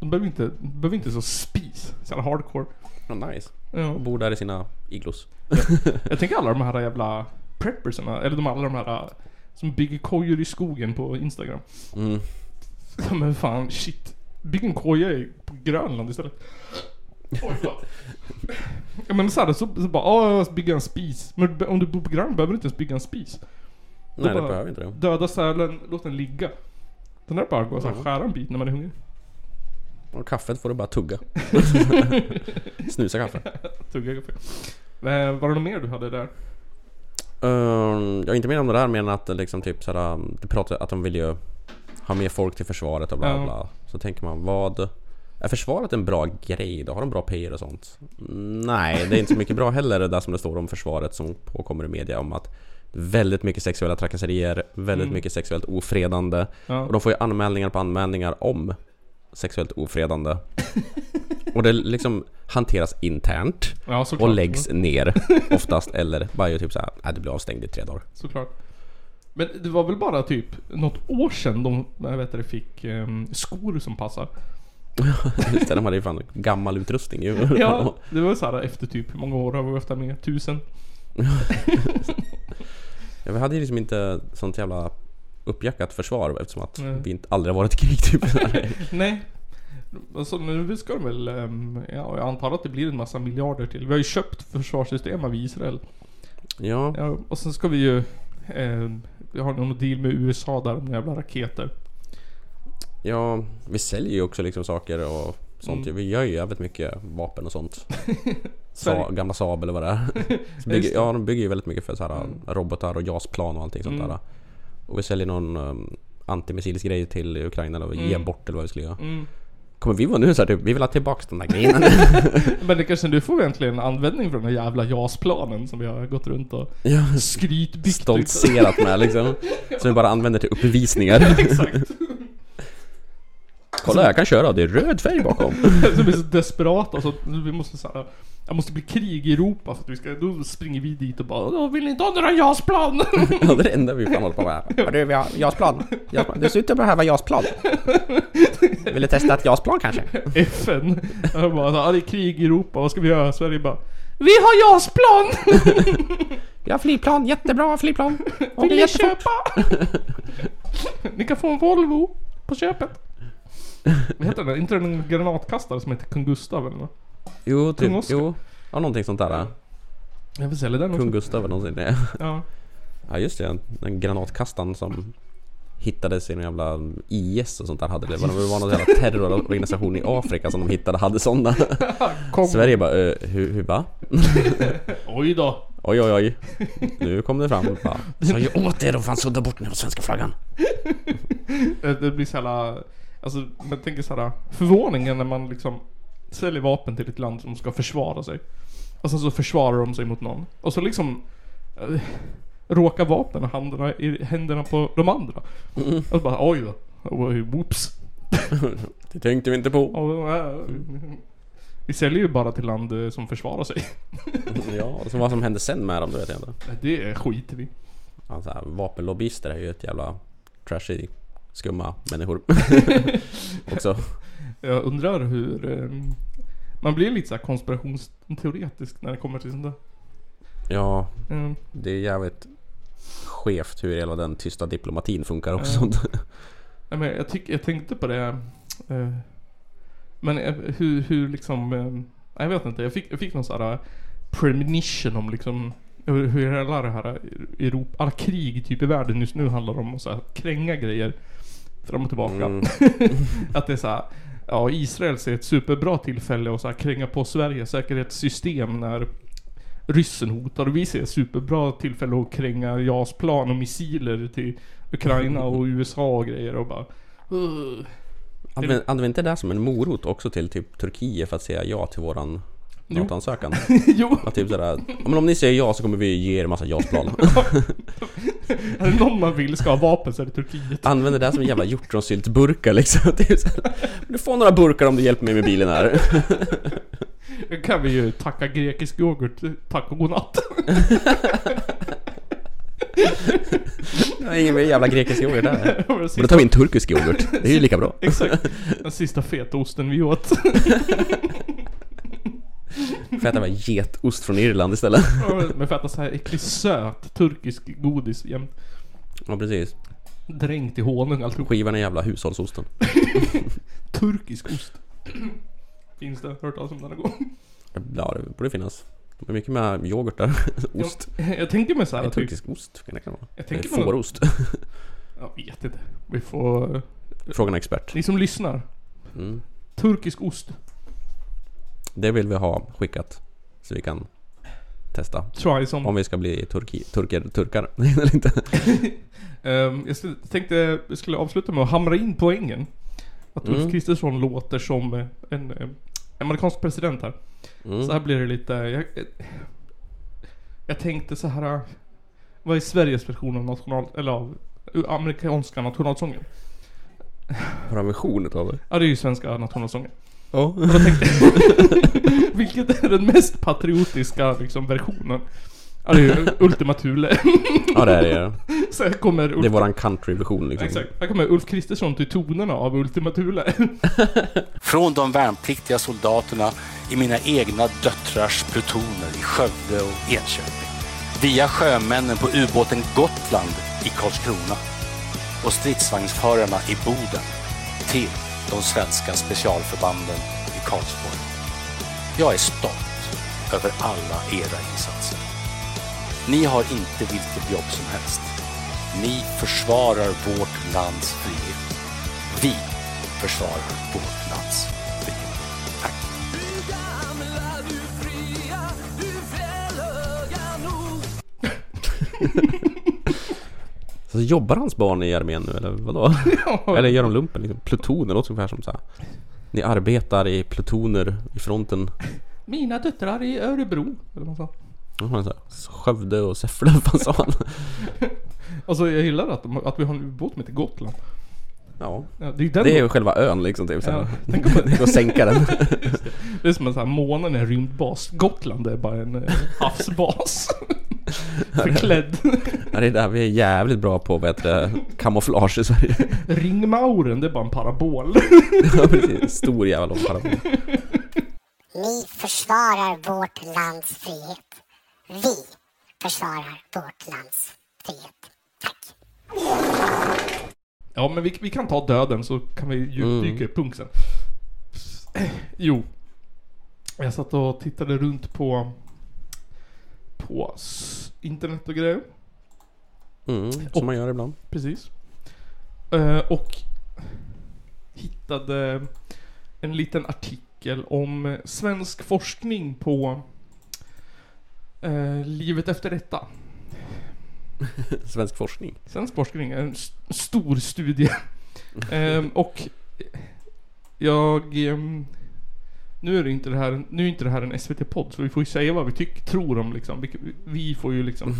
S1: De behöver inte, de behöver inte så spis. Såhär hardcore.
S3: Ja. nice.
S1: Ja.
S3: De bor där i sina igloos.
S1: Jag tänker alla de här jävla prepperserna, eller de alla de här äh, som bygger kojor i skogen på Instagram.
S3: Mm.
S1: Ja, Men fan, shit. Bygg en koja i- på Grönland istället. Oj, förlåt. Ja men såhär, så, så bara åh, jag ska bygga en spis. Men be- om du bor på Grönland behöver du inte ens bygga en spis.
S3: Nej, det
S1: bara-
S3: behöver inte det.
S1: Döda sälen, låt den ligga. Den där bara går såhär,
S3: Mm.
S1: skära en bit när man är hungrig.
S3: Och kaffet får du bara tugga. Snusa kaffe.
S1: Tugga kaffe. Eh, Var det något mer du hade där?
S3: Um, jag är inte med om det där mer än att det liksom typ såhär, um, det pratar att de vill ju ha mer folk till försvaret och bla
S1: Ja.
S3: bla. Så tänker man vad... Är försvaret en bra grej då? Har de bra PR och sånt? Nej, det är inte så mycket bra heller det där som det står om försvaret som påkommer i media om att Väldigt mycket sexuella trakasserier, väldigt mycket sexuellt ofredande.
S1: Mm. Ja.
S3: Och de får ju anmälningar på anmälningar om sexuellt ofredande. och det liksom hanteras internt.
S1: Ja såklart.
S3: Och läggs ner oftast eller bara ju typ såhär, nej du blir avstängd i tre dagar.
S1: Såklart. Men det var väl bara typ något år sedan de, jag vet inte, fick ehm, skor som passar.
S3: Just det, de hade ju fan gammal utrustning ju.
S1: Ja, det var såhär efter typ, hur många år har vi haft det med? Tusen?
S3: Ja, Vi hade ju liksom inte sånt jävla uppjackat försvar eftersom att
S1: Nej.
S3: vi inte, aldrig har varit i krig typ.
S1: Nej. Alltså nu ska de väl, ehm, ja, jag antar att det blir en massa miljarder till. Vi har ju köpt försvarssystem av Israel.
S3: ja,
S1: Ja, och sen ska vi ju, ehm, vi har någon deal med USA där om jävla raketer.
S3: ja, vi säljer ju också liksom saker och
S1: Mm.
S3: sånt ju. Vi gör ju jävligt mycket vapen och sånt. Sa,
S1: Sverige.
S3: gamla Saab eller vad det Mm. är. Så
S1: Just
S3: bygger,
S1: det.
S3: ja, de bygger ju väldigt mycket för så här, robotar och JAS-plan och allting sånt där. Och vi säljer någon um, antimissilsk grej till Ukraina eller ger bort eller vad vi skulle göra.
S1: Mm.
S3: Kommer vi vara nu så här, typ, vi vill ha tillbaks den där grejen.
S1: Men det kanske nu får vi äntligen användning för den här jävla JAS-planen som vi har gått runt och
S3: ja,
S1: skrytbyggt.
S3: stoltserat med liksom. Som vi bara använder till uppvisningar.
S1: Exakt.
S3: Kolla jag kan köra, det är röd färg bakom.
S1: Som är så desperata så att vi måste såhär Jag måste bli krig i Europa för att vi ska, då springer vi dit och bara Åh, vill ni inte ha några JAS-plan?
S3: Ja, det är det enda vi fan håller på med. Ja, Du, vi har JAS-plan. JAS-plan. Dessutom behöver jag JAS-plan. Vill du testa ett JAS-plan kanske?
S1: FN Jag bara så, här, "Ja, det är krig i Europa, vad ska vi göra? Sverige bara Vi har JAS-plan!
S3: Vi har flygplan, jättebra flygplan. Och
S1: Vill ni köpa? ni kan få en Volvo på köpet Vad heter den? Inte den granatkastare som heter Kung Gustav eller nåt?
S3: Jo,
S1: Kung
S3: typ.
S1: Oscar.
S3: Jo. Ja, någonting sånt där.
S1: Jag vill sälja den också
S3: Kung Gustav eller någonting. Nej.
S1: Ja
S3: Ja, just det. Den granatkastan som hittades i någon jävla IS och sånt där hade det. Det var någon jävla terrororganisation i Afrika som de hittade hade sådana.
S1: Kom.
S3: Sverige bara, eh, hur, hur va?
S1: Oj då
S3: Oj oj oj. Nu kom det fram. Bara, Sa ju åt er och fan sudda bort den här svenska flaggan.
S1: Eh, Det det blir så jävla... Alltså, man tänker så här Förvåningen när man liksom säljer vapen till ett land som ska försvara sig. Och sen så försvarar de sig mot någon. Och så liksom... Äh, råkar vapen händerna i händerna på de andra. Och så bara oj då. Oj, Whoops.
S3: Det tänkte vi inte på.
S1: Och, äh, Vi säljer ju bara till land eh, som försvarar sig.
S3: Ja, och så vad som hände sen med dem det vet jag inte.
S1: Det skiter vi i.
S3: Alltså, här, vapenlobbyister är ju ett jävla trashy, skumma människor. Också.
S1: Jag undrar hur... eh, Man blir lite så här konspirationsteoretisk när det kommer till sånt där.
S3: Ja,
S1: Eh,
S3: det är jävligt skevt hur hela den tysta diplomatin funkar också.
S1: Nej, men jag, tyck, jag tänkte på det. eh, men eh, hur, hur liksom... eh, nej, jag vet inte. Jag fick, jag fick någon sån här eh, premonition om liksom hur, hur hela det här eh, Europa, alla krig typ i världen just nu handlar om att så här, kränga grejer fram och tillbaka.
S3: Mm.
S1: att det är så här, Ja, Israel ser ett superbra tillfälle att så här, kränga på Sveriges säkerhetssystem när ryssen hotar och vi ser superbra tillfälle att kränga JAS-plan och missiler till Ukraina och USA och grejer och bara... "Ugh."
S3: Använd, använd inte det där som en morot också till typ Turkiet för att säga ja till våran NATO-ansökan?
S1: jo,
S3: Att typ sådär, "Ja, men om ni säger ja så kommer vi ge er massa JAS-plan.
S1: är det någon man vill ska ha vapen så är det Turkiet.
S3: Använder det här som en jävla hjortronsyltburkar liksom. Typ så här, du får några burkar om du hjälper mig med bilen här.
S1: Då kan vi ju tacka grekisk yoghurt, tack och godnatt.
S3: Jag har ingen mer jävla grekisk yoghurt där.
S1: Det var det
S3: Men då
S1: sista-
S3: tar vi en turkisk yoghurt. Det är ju lika bra.
S1: Exakt. Den sista fetaosten vi åt.
S3: För att det var getost från Irland istället.
S1: Med feta så här äcklig söt turkisk godis jämt
S3: Ja precis.
S1: dränkt i honung alltihop.
S3: Skivan är jävla hushållsosten.
S1: Turkisk ost. Finns det? Hört talas om den någon gång?
S3: Ja det borde finnas. Det är mycket med yoghurt där. Ost.
S1: Jag, jag tänker mig så här
S3: Nej,
S1: att vi,
S3: turkisk ost kan det kan vara.
S1: typ. Jag tänker på-
S3: Fårost.
S1: Jag vet inte. Vi får...
S3: Frågan är expert.
S1: Ni som lyssnar.
S3: Mm.
S1: Turkisk ost.
S3: Det vill vi ha skickat. Så vi kan testa.
S1: Try some.
S3: Om vi ska bli turki, turker, turkar. Eller inte.
S1: Ehm, jag skulle- tänkte jag skulle avsluta med att hamra in poängen. Att Ulf
S3: Mm.
S1: Kristersson låter som eh, en eh, amerikansk president här.
S3: Mm.
S1: Så här blir det lite... Jag, eh, jag tänkte så här... eh, Vad är Sveriges version av national... Eller av eh, amerikanska nationalsången?
S3: Har han version utav det?
S1: Ja, det är ju svenska nationalsången.
S3: Ja.
S1: Vilket är den mest patriotiska liksom, versionen? Ja, det är ju Ultima Thule.
S3: Ja det är det.
S1: Så här kommer
S3: Det är
S1: Ulf,
S3: våran countryversion liksom.
S1: exakt, här kommer Ulf Kristersson till tonerna av Ultima Thule.
S7: Från de värnpliktiga soldaterna i mina egna döttrars plutoner i Skövde och Enköping. Via sjömännen på ubåten Gotland i Karlskrona. Och stridsvagnsförarna i Boden till de svenska specialförbanden i Karlsborg. Jag är stolt över alla era insatser. Ni har inte vilket jobb som helst. Ni försvarar vårt lands frihet. Vi försvarar vårt lands frihet. Tack.
S3: Så jobbar hans barn i armén nu eller vadå?
S1: Ja.
S3: Eller gör de lumpen liksom? Plutoner låter ungefär som såhär. Ni arbetar i plutoner i fronten.
S1: Mina döttrar i Örebro, eller vad han sa.
S3: Vad fan sa han? Skövde och Säffle, vad fan sa han?
S1: Alltså jag gillar att, de, att vi har en ubåt som heter Gotland.
S3: Ja.
S1: Ja, det är ju den
S3: Det är ju själva ön liksom typ
S1: Ja,
S3: såhär.
S1: den kommer-
S3: Det går att sänka den.
S1: Det är som en sån här månen är en rymdbas. Gotland är bara en eh, havsbas. Förklädd.
S3: Ja, det är där vi är jävligt bra på vad heter det, kamouflage i Sverige.
S1: Ringmauren, det är bara en parabol.
S3: Ja, precis. Stor jävla lång parabol.
S5: Ni försvarar vårt lands frihet. Vi försvarar vårt lands frihet. Tack.
S1: Ja men vi, vi kan ta döden så kan vi
S3: Mm.
S1: djupdyka i punk sen. Eh, Jo. Jag satt och tittade runt på... På s- internet och grejer.
S3: Mm, som man gör ibland.
S1: Precis. Eh, och hittade en liten artikel om svensk forskning på eh, livet efter detta.
S3: Svensk forskning.
S1: Svensk forskning är en st- stor studie. Ehm, och jag... ehm, nu är, det inte det här, nu är inte det här en SVT-podd, så vi får ju säga vad vi tyck, tror om liksom. Vi, vi får ju liksom...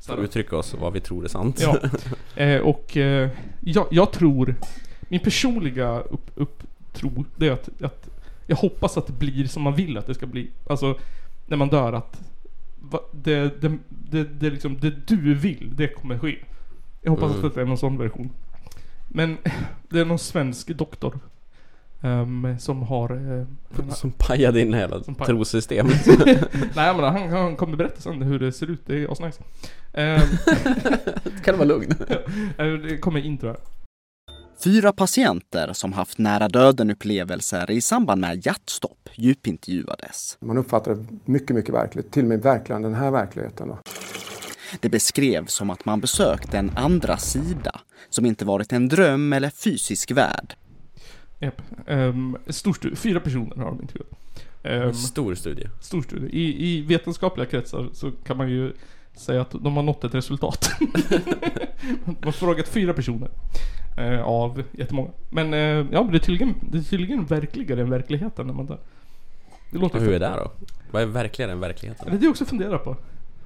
S1: så här-
S3: Uttrycka oss vad vi tror är sant.
S1: Ja. Eh, och eh, jag, jag tror, min personliga upp, upp tro, det är att, att jag hoppas att det blir som man vill att det ska bli. Alltså, när man dör att va, det, det, det, det, liksom, det du vill, det kommer ske. Jag hoppas
S3: Mm.
S1: att det är någon sån version. Men det är någon svensk doktor ehm, som har... eh, han har-
S3: Som pajade in hela
S1: Som paj-
S3: trosystemet.
S1: nej men han, han kommer berätta sen hur det ser ut, det är asnice. Ehm,
S3: Kan du vara lugn?
S1: eh, det kommer intro här.
S8: Fyra patienter som haft nära döden-upplevelser i samband med hjärtstopp djupintervjuades.
S9: Man uppfattar det mycket, mycket verkligt. Till och med verkligen den här verkligheten. Då.
S8: Det beskrevs som att man besökt en andra sida som inte varit en dröm eller fysisk värld.
S1: Ehm, Japp. Um, stor stu- fyra personer har de intervjuat. Ehm,
S3: Stor studie.
S1: stor studie. I, I vetenskapliga kretsar så kan man ju säga att de har nått ett resultat. de har frågat fyra personer. Eh, av jättemånga. Men eh, ja, det är, tydligen, det är tydligen verkligare än verkligheten när man dör. Det låter
S3: Och
S1: ju
S3: hur är
S1: fett.
S3: det då? Vad är verkligare än verkligheten?
S1: Ja, Det är det jag också funderar på.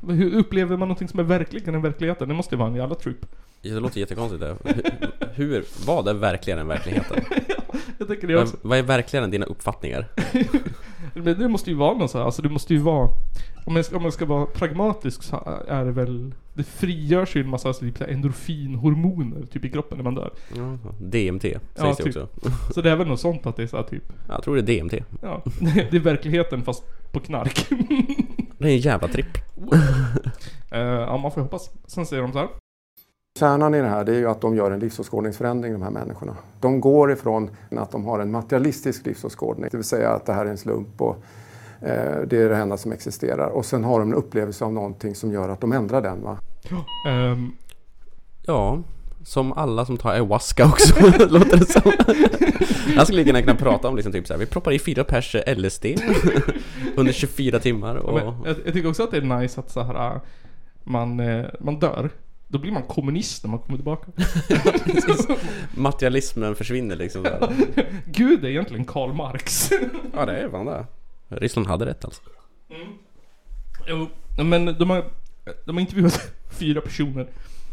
S1: Hur upplever man någonting som är verkligare än verkligheten? Det måste ju vara en jävla trip.
S3: Det låter jättekonstigt. det. Hur- Hur, vad är verkligare än verkligheten?
S1: Jag tänker det
S3: Vad-
S1: också.
S3: Vad är verkligare än dina uppfattningar?
S1: Men det måste ju vara någon så här, alltså det måste ju vara... Om man, ska, om man ska vara pragmatisk så är det väl... Det frigörs ju en massa alltså, typ så här endorfinhormoner typ i kroppen när man dör.
S3: DMT
S1: Ja,
S3: sägs det
S1: typ.
S3: också.
S1: Så det är väl något sånt att det är så här, typ...
S3: Jag tror det är DMT.
S1: Ja, det är verkligheten fast på knark.
S3: Det är en jävla tripp.
S1: Eh, ja, man får ju hoppas. Sen säger de så här.
S9: Kärnan i det här det är ju att de gör en livsåskådningsförändring, de här människorna. De går ifrån att de har en materialistisk livsåskådning, det vill säga att det här är en slump och eh, det är det enda som existerar. Och sen har de en upplevelse av någonting som gör att de ändrar den. Va?
S1: ehm,
S3: Ja, som alla som tar ayahuasca också, låter det som. Jag skulle lika gärna kunna prata om liksom typ så här, vi proppar i fyra pers LSD under 24 timmar och...
S1: men jag, jag tycker också att det är nice att så här eh, man, eh, man dör. Då blir man kommunist när man kommer tillbaka.
S3: Materialismen försvinner liksom där.
S1: Gud är egentligen Karl Marx.
S3: Ja det är fan det. Ryssland hade rätt alltså.
S1: Jo, men de har, de har intervjuat fyra personer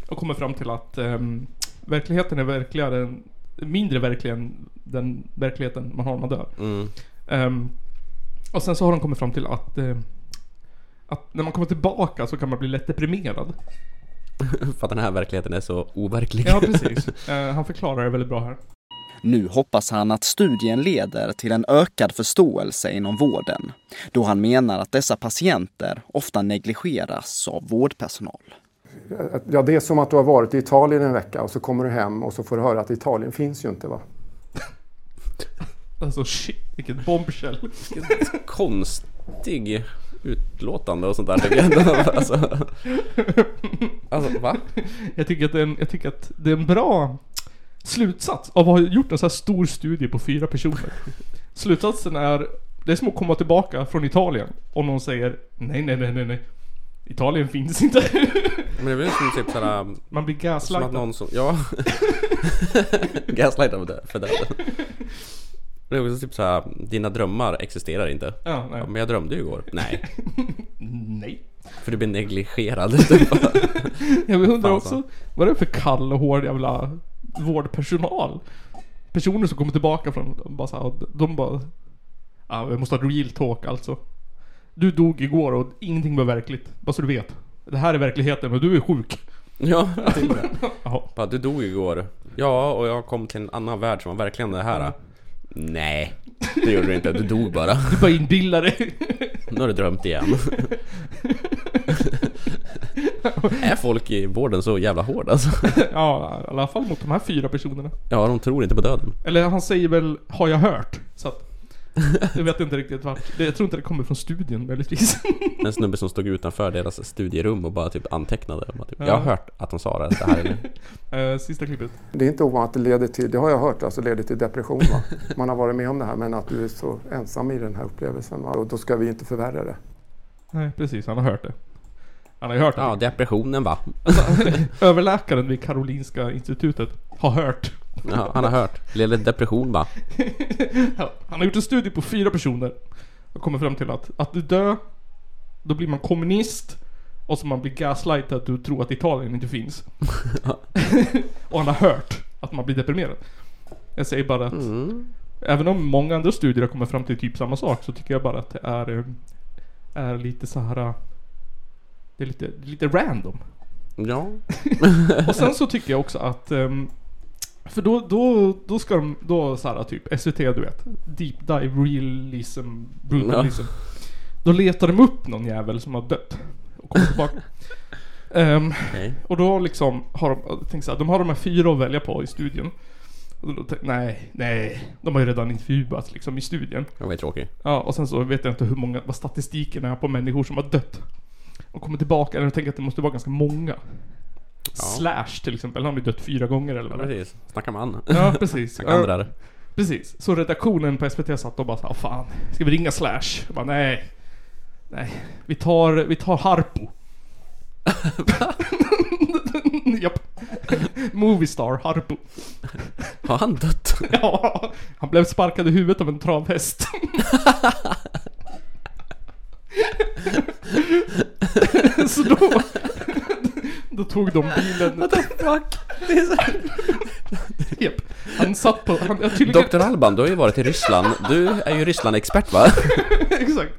S1: och kommit fram till att ehm, verkligheten är verkligare än, mindre verklig än den verkligheten man har när man dör.
S3: Mm.
S1: Ehm, och sen så har de kommit fram till att, eh, att när man kommer tillbaka så kan man bli lätt deprimerad.
S3: För att den här verkligheten är så overklig.
S1: Ja, precis. Eh, han förklarar det väldigt bra här.
S8: Nu hoppas han att studien leder till en ökad förståelse inom vården, då han menar att dessa patienter ofta negligeras av vårdpersonal.
S9: Att- Ja, det är som att du har varit i Italien en vecka och så kommer du hem och så får du höra att Italien finns ju inte. Va?
S1: Alltså shit, vilket bombshell.
S3: Konstig utlåtande och sånt där tycker jag. Alltså, alltså va?
S1: Jag tycker, att det är en, jag tycker att det är en bra slutsats av att ha gjort en så här stor studie på fyra personer. Slutsatsen är, det är som att komma tillbaka från Italien och någon säger nej, nej, nej, nej, nej. Italien finns inte.
S3: Men det är väl som typ såhär
S1: Man blir
S3: Som att
S1: gaslightad.
S3: någon som, ja. Gaslightar för dö- för döden. Det är också typ såhär, dina drömmar existerar inte.
S1: Ja, nej.
S3: Ja, men jag drömde ju igår. Nej,
S1: nej.
S3: för du blir negligerad.
S1: Jag undrar
S3: Fan,
S1: också,
S3: så.
S1: vad är det för kall och hård jävla vårdpersonal? Personer som kommer tillbaka från, de bara så här, de bara... Ja, vi måste ha real talk alltså. Du dog igår och ingenting var verkligt. Bara så du vet. Det här är verkligheten och du är sjuk.
S3: ja, jag tänkte det.
S1: Jaha.
S3: Bara, du dog igår. Ja, och jag kom till en annan värld som var verkligen det här. Nej, det gjorde du inte. Du dog bara.
S1: Du bara inbillar dig.
S3: Nu har du drömt igen. Är folk i vården så jävla hårda alltså?
S1: Ja, i alla fall mot de här fyra personerna.
S3: Ja, de tror inte på döden.
S1: Eller han säger väl, har jag hört? Så att... Jag vet inte riktigt vart. Det- Jag tror inte det kommer från studien möjligtvis.
S3: En snubbe som stod utanför deras studierum och bara typ antecknade. Bara typ, jag har hört att de sa det, det här är nu."
S1: Eh, Sista klippet.
S9: Det är inte ovanligt att det leder till, det har jag hört, alltså leder till depression. Va? Man har varit med om det här men att du är så ensam i den här upplevelsen. Va? Och då ska vi inte förvärra det.
S1: Nej, precis. Han har hört det. Han har ju hört det.
S3: Ja, depressionen va?
S1: Överläkaren vid Karolinska institutet har hört.
S3: Ja, han har hört. Lille depression va?
S1: Han har gjort en studie på fyra personer. Och kommit fram till att, att du dör, då blir man kommunist. Och så man blir gaslightad att du tror att Italien inte finns. och han har hört att man blir deprimerad. Jag säger bara att även om många andra studier har kommit fram till typ samma sak så tycker jag bara att det är, eh, är lite så här. eh, Det är lite, det är lite random.
S3: Ja.
S1: Och sen så tycker jag också att ehm, För då, då, då ska de, då såhär typ SVT du vet Deep dive realism, brutalism Då letar de upp någon jävel som har dött Och kommer tillbaka Ehm,
S3: Okej.
S1: Och då liksom har de, tänk såhär, de har de här fyra att välja på i studion Och då tänk- Nej, nej, de har ju redan intervjuats liksom i studien
S3: Det var ju tråkigt.
S1: Ja, och sen så vet jag inte hur många, vad statistiken är på människor som har dött. Och kommer tillbaka, eller jag tänker att det måste vara ganska många. Slash till exempel, han har ju dött fyra gånger eller
S3: Ja,
S1: vad det är.
S3: precis. Snacka med han.
S1: Ja, precis.
S3: Snacka andra.
S1: Precis. Så redaktionen på SVT satt och bara såhär, fan, ska vi ringa Slash? Jag bara, nej. Nej. Vi tar, vi tar Harpo. Japp. Moviestar, Harpo.
S3: Har han dött?
S1: Ja, han blev sparkad i huvudet av en travhäst. så då... Då tog de bilen.
S3: Fuck. Det är så...
S1: Japp. Han satt på... Han, jag tydligen,
S3: Dr. Alban, du har ju varit i Ryssland. Du är ju Ryssland-expert va?
S1: Exakt.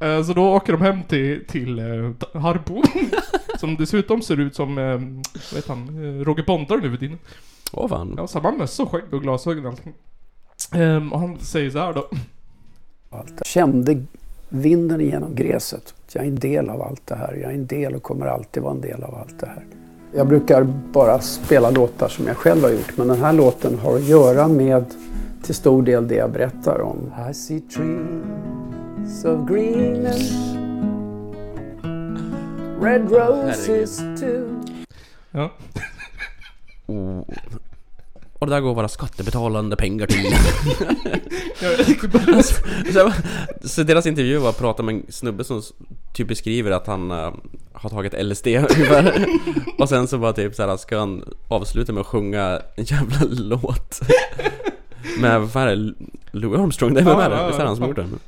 S1: Eh, Så då åker de hem till, till eh, Ta- Harpo. Som dessutom ser ut som, eh, vad heter han, eh, Roger Pontare nu för tiden.
S3: Åh fan.
S1: Ja, samma mössa och skägg och glasögon och allting. Ehm, och han säger så här då.
S10: allt. Kände vinden genom gräset. Jag är en del av allt det här. Jag är en del och kommer alltid vara en del av allt det här. Jag brukar bara spela låtar som jag själv har gjort men den här låten har att göra med till stor del det jag berättar om. I see trees of green and red roses too
S1: Ja.
S3: Oh. Och det där går våra skattebetalande pengar till. Så- Så deras intervju var att prata med en snubbe som s- typ beskriver att han eh, har tagit LSD ungefär. Och sen så bara typ såhär, ska han avsluta med att sjunga en jävla låt? Med, vad fan är det? Louis Armstrong? Det är, vem
S1: Ja,
S3: är det?
S1: ja,
S3: Visst är det han som
S1: ja.
S3: gjort den?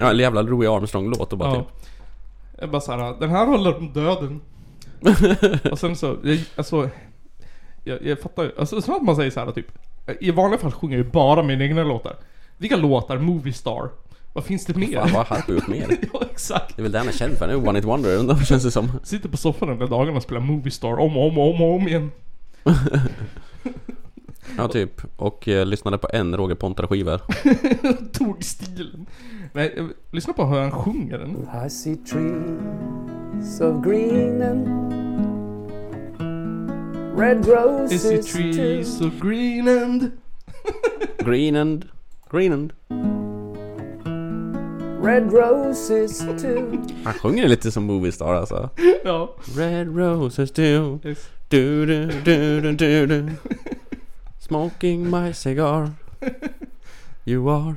S3: Ja, en jävla Louis Armstrong-låt och bara
S1: Ja.
S3: typ.
S1: Jag bara såhär, den här håller om döden. och sen så, jag, alltså. Jag, jag fattar ju. Alltså som att man säger såhär typ. I vanliga fall sjunger jag ju bara mina egna låtar. Vilka låtar? Moviestar. Vad finns det mer?
S3: Fan vad har Harpo gjort mer?
S1: ja exakt.
S3: Det är väl det han är känd för nu, One It Wonder ändå, känns det som.
S1: Sitter på soffan hela dagarna och spelar Moviestar om och om och om, och om igen.
S3: Ja typ. Och eh, lyssnade på en Roger Pontare-skiva.
S1: Tog stilen. Nej, jag- lyssna på hur han sjunger den.
S10: I see trees of green and red
S1: Is it
S10: roses too.
S1: trees of green and...
S3: Greenand. Greenand.
S10: Red roses too.
S3: Han sjunger lite som Moviestar alltså.
S1: Ja.
S3: Red roses do,
S1: Yes.
S3: do do do do do do Smoking my cigar You are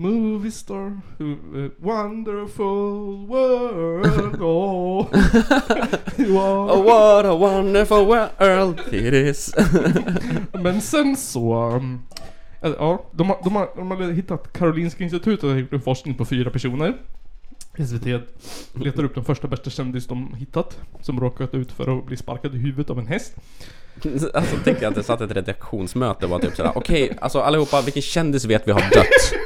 S1: Movie star, uh, wonderful world. Oh, you are.
S3: Oh what a wonderful world it is
S1: Men sen så... um, äh, Ja, de har, de, har, de har hittat Karolinska institutet och gjort en forskning på fyra personer. SVT letar upp den första bästa kändis de hittat. Som råkat ut för att bli sparkad i huvudet av en häst.
S3: Alltså tänk att det satt ett redaktionsmöte och var typ sådär Okej, alltså allihopa, vilken kändis vet vi har dött?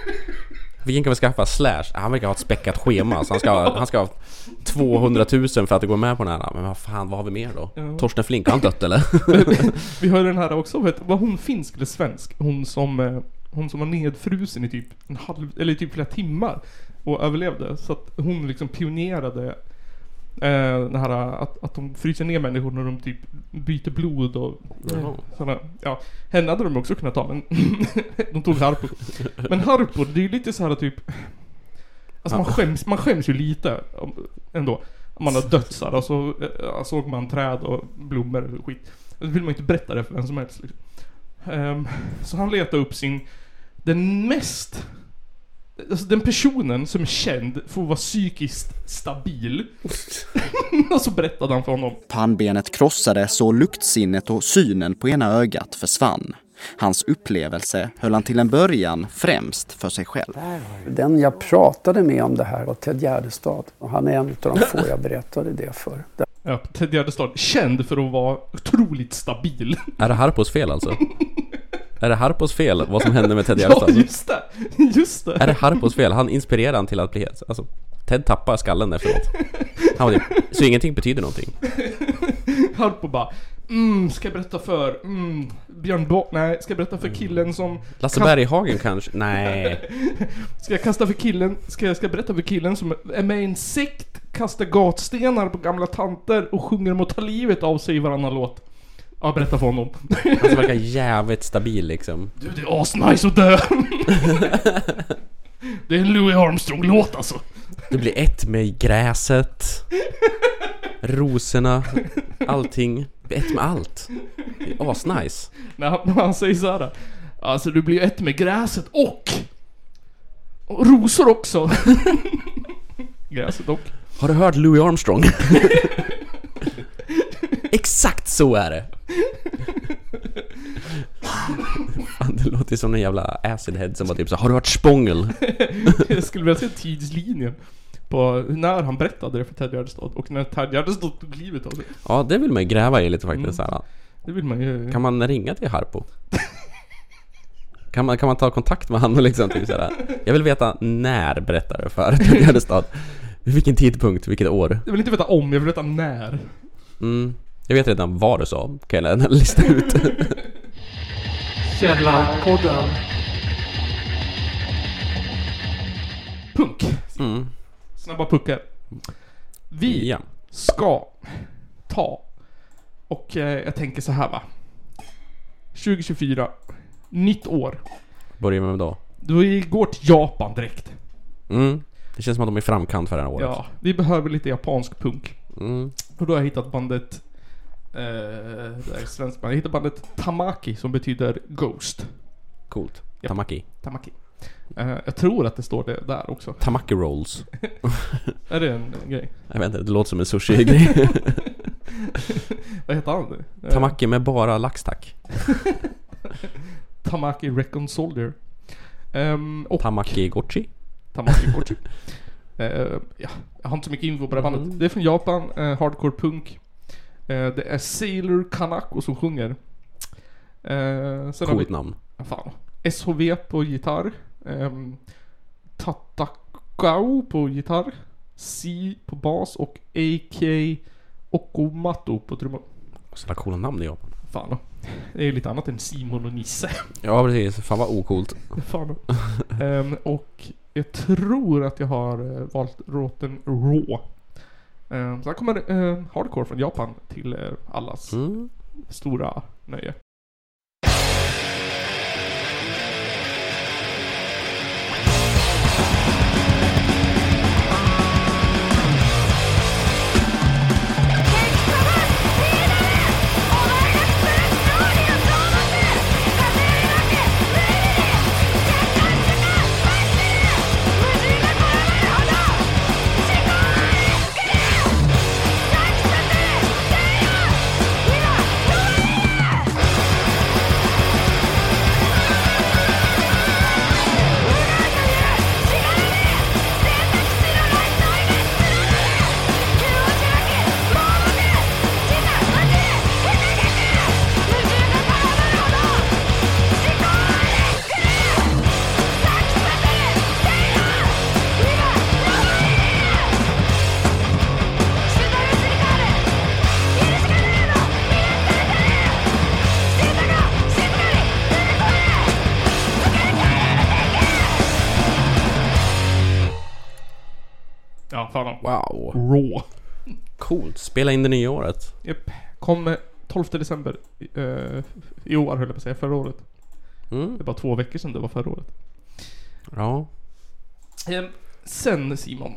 S3: Vilken kan vi skaffa? Slash? Ah, Han verkar ha ett späckat schema så han ska, han ska ha 200 000 för att gå med på den här Men vad fan, vad har vi mer då? Torsten Flink, har han dött eller?
S1: Vi har ju den här också, vet, var hon finsk eller svensk? Hon som, eh, hon som var nedfrusen i typ en halv, eller typ flera timmar och överlevde. Så att hon liksom pionerade eh, den här att, att de fryser ner människor när de typ byter blod och
S3: Jaha.
S1: sådana. Ja, henne hade de också kunnat ta men de tog Harpo. Men Harpo, det är ju lite så här typ Alltså man skäms, man skäms ju lite om- ändå. Om Man har dött så här, och så eh, såg man träd och blommor och skit. Då vill man inte berätta det för vem som helst. Liksom. Ehm, så han letar upp sin, den mest, alltså den personen som är känd för att vara psykiskt stabil. och så berättade han för honom.
S8: Pannbenet krossades och luktsinnet och synen på ena ögat försvann. Hans upplevelse höll han till en början främst för sig själv.
S10: Den jag pratade med om det här var Ted Gärdestad. Och han är en av de få jag berättade det för.
S1: Ja, Ted Gärdestad, känd för att vara otroligt stabil.
S3: Är det Harpos fel alltså? är det Harpos fel vad som hände med Ted
S1: ja,
S3: Gärdestad?
S1: just det. Just det.
S3: är det Harpos fel? Han inspirerar han till att bli alltså, Ted tappar skallen efteråt. Han var typ, så ingenting betyder någonting.
S1: Harpo bara Mm, ska jag berätta för, mm, Björn Borg, nej, ska jag berätta för killen som...
S3: Lasse
S1: kast-
S3: Berghagen kanske? Nej.
S1: Ska jag kasta för killen, ska jag, ska jag berätta för killen som är med i en sekt, kastar gatstenar på gamla tanter och sjunger om att ta livet av sig i varannan låt? Ja, berätta för honom.
S3: Han som verkar jävligt stabil liksom.
S1: Du, det är asnice att dö! Det är en Louis Armstrong-låt alltså.
S3: Det blir ett med gräset. Rosorna. Allting. Ett med allt. Det är asnice.
S1: När han, när han säger såhär. Alltså du blir ett med gräset och... och rosor också. gräset och.
S3: Har du hört Louis Armstrong? Exakt så är det! Fan, det låter som en jävla acidhead som var typ så här, Har du hört Spångel?
S1: Jag skulle vilja se tidslinjen. På när han berättade det för Ted Gärdestad och när Ted Gärdestad tog livet av sig.
S3: Ja, det vill man ju gräva i lite faktiskt. så här.
S1: Det vill man ju...
S3: Kan man ringa till Harpo? Kan man, kan man ta kontakt med han och liksom typ såhär, Jag vill veta när berättar du för Ted Gärdestad? Vid vilken tidpunkt, vilket år?
S1: Jag vill inte veta om, jag vill veta när.
S3: Mm. Jag vet redan vad du sa, kan jag lista ut.
S1: Källarpodden. Punk.
S3: Mm.
S1: Snabba puckar. Vi
S3: Ja.
S1: ska ta och eh, jag tänker så här va. 2024. Nytt år.
S3: Börjar med då.
S1: Vi går till Japan direkt.
S3: Mm. Det känns som att de är i framkant för det här året.
S1: Ja, vi behöver lite japansk punk.
S3: Mm.
S1: Och då har jag hittat bandet... Eh, det är ett svenskt band. Jag hittade bandet Tamaki som betyder Ghost.
S3: Coolt.
S1: Ja.
S3: Tamaki.
S1: Tamaki. Eh, jag tror att det står det där också.
S3: Tamaki rolls.
S1: Är det en, en grej?
S3: Jag vet inte, det låter som en sushi-grej.
S1: Vad heter han? nu? Eh,
S3: Tamaki med bara lax tack.
S1: Tamaki Recon Soldier. Ehm, och
S3: Tamaki gochi.
S1: Tamaki Kochi. Eh, ja, jag har inte så mycket info på det här bandet. Det är från Japan, eh, hardcore punk. Eh, det är Sailor Kanako som sjunger. Eh, sen har vi
S3: Coolt namn.
S1: Ja, Fan. SHV på gitarr. Um, Tatakao på gitarr. Si på bas och AK Okomato på trummor.
S3: Sådana coola namn i Japan.
S1: Fan då. Det är lite annat än Simon och Nisse.
S3: Ja precis, fan vad ocoolt.
S1: Fan då. Ehm, och jag tror att jag har eh, valt låten Raw. Um, så här kommer eh, hardcore från Japan till eh, allas
S3: Mm.
S1: stora nöje. Ja, fan då.
S3: Wow.
S1: Raw.
S3: Coolt. Spela in det nya året.
S1: Japp. Kom eh, 12 december eh, i år höll jag på att säga, förra året.
S3: Mm.
S1: Det var två veckor sedan det var förra året.
S3: Ja.
S1: Ehm, sen Simon.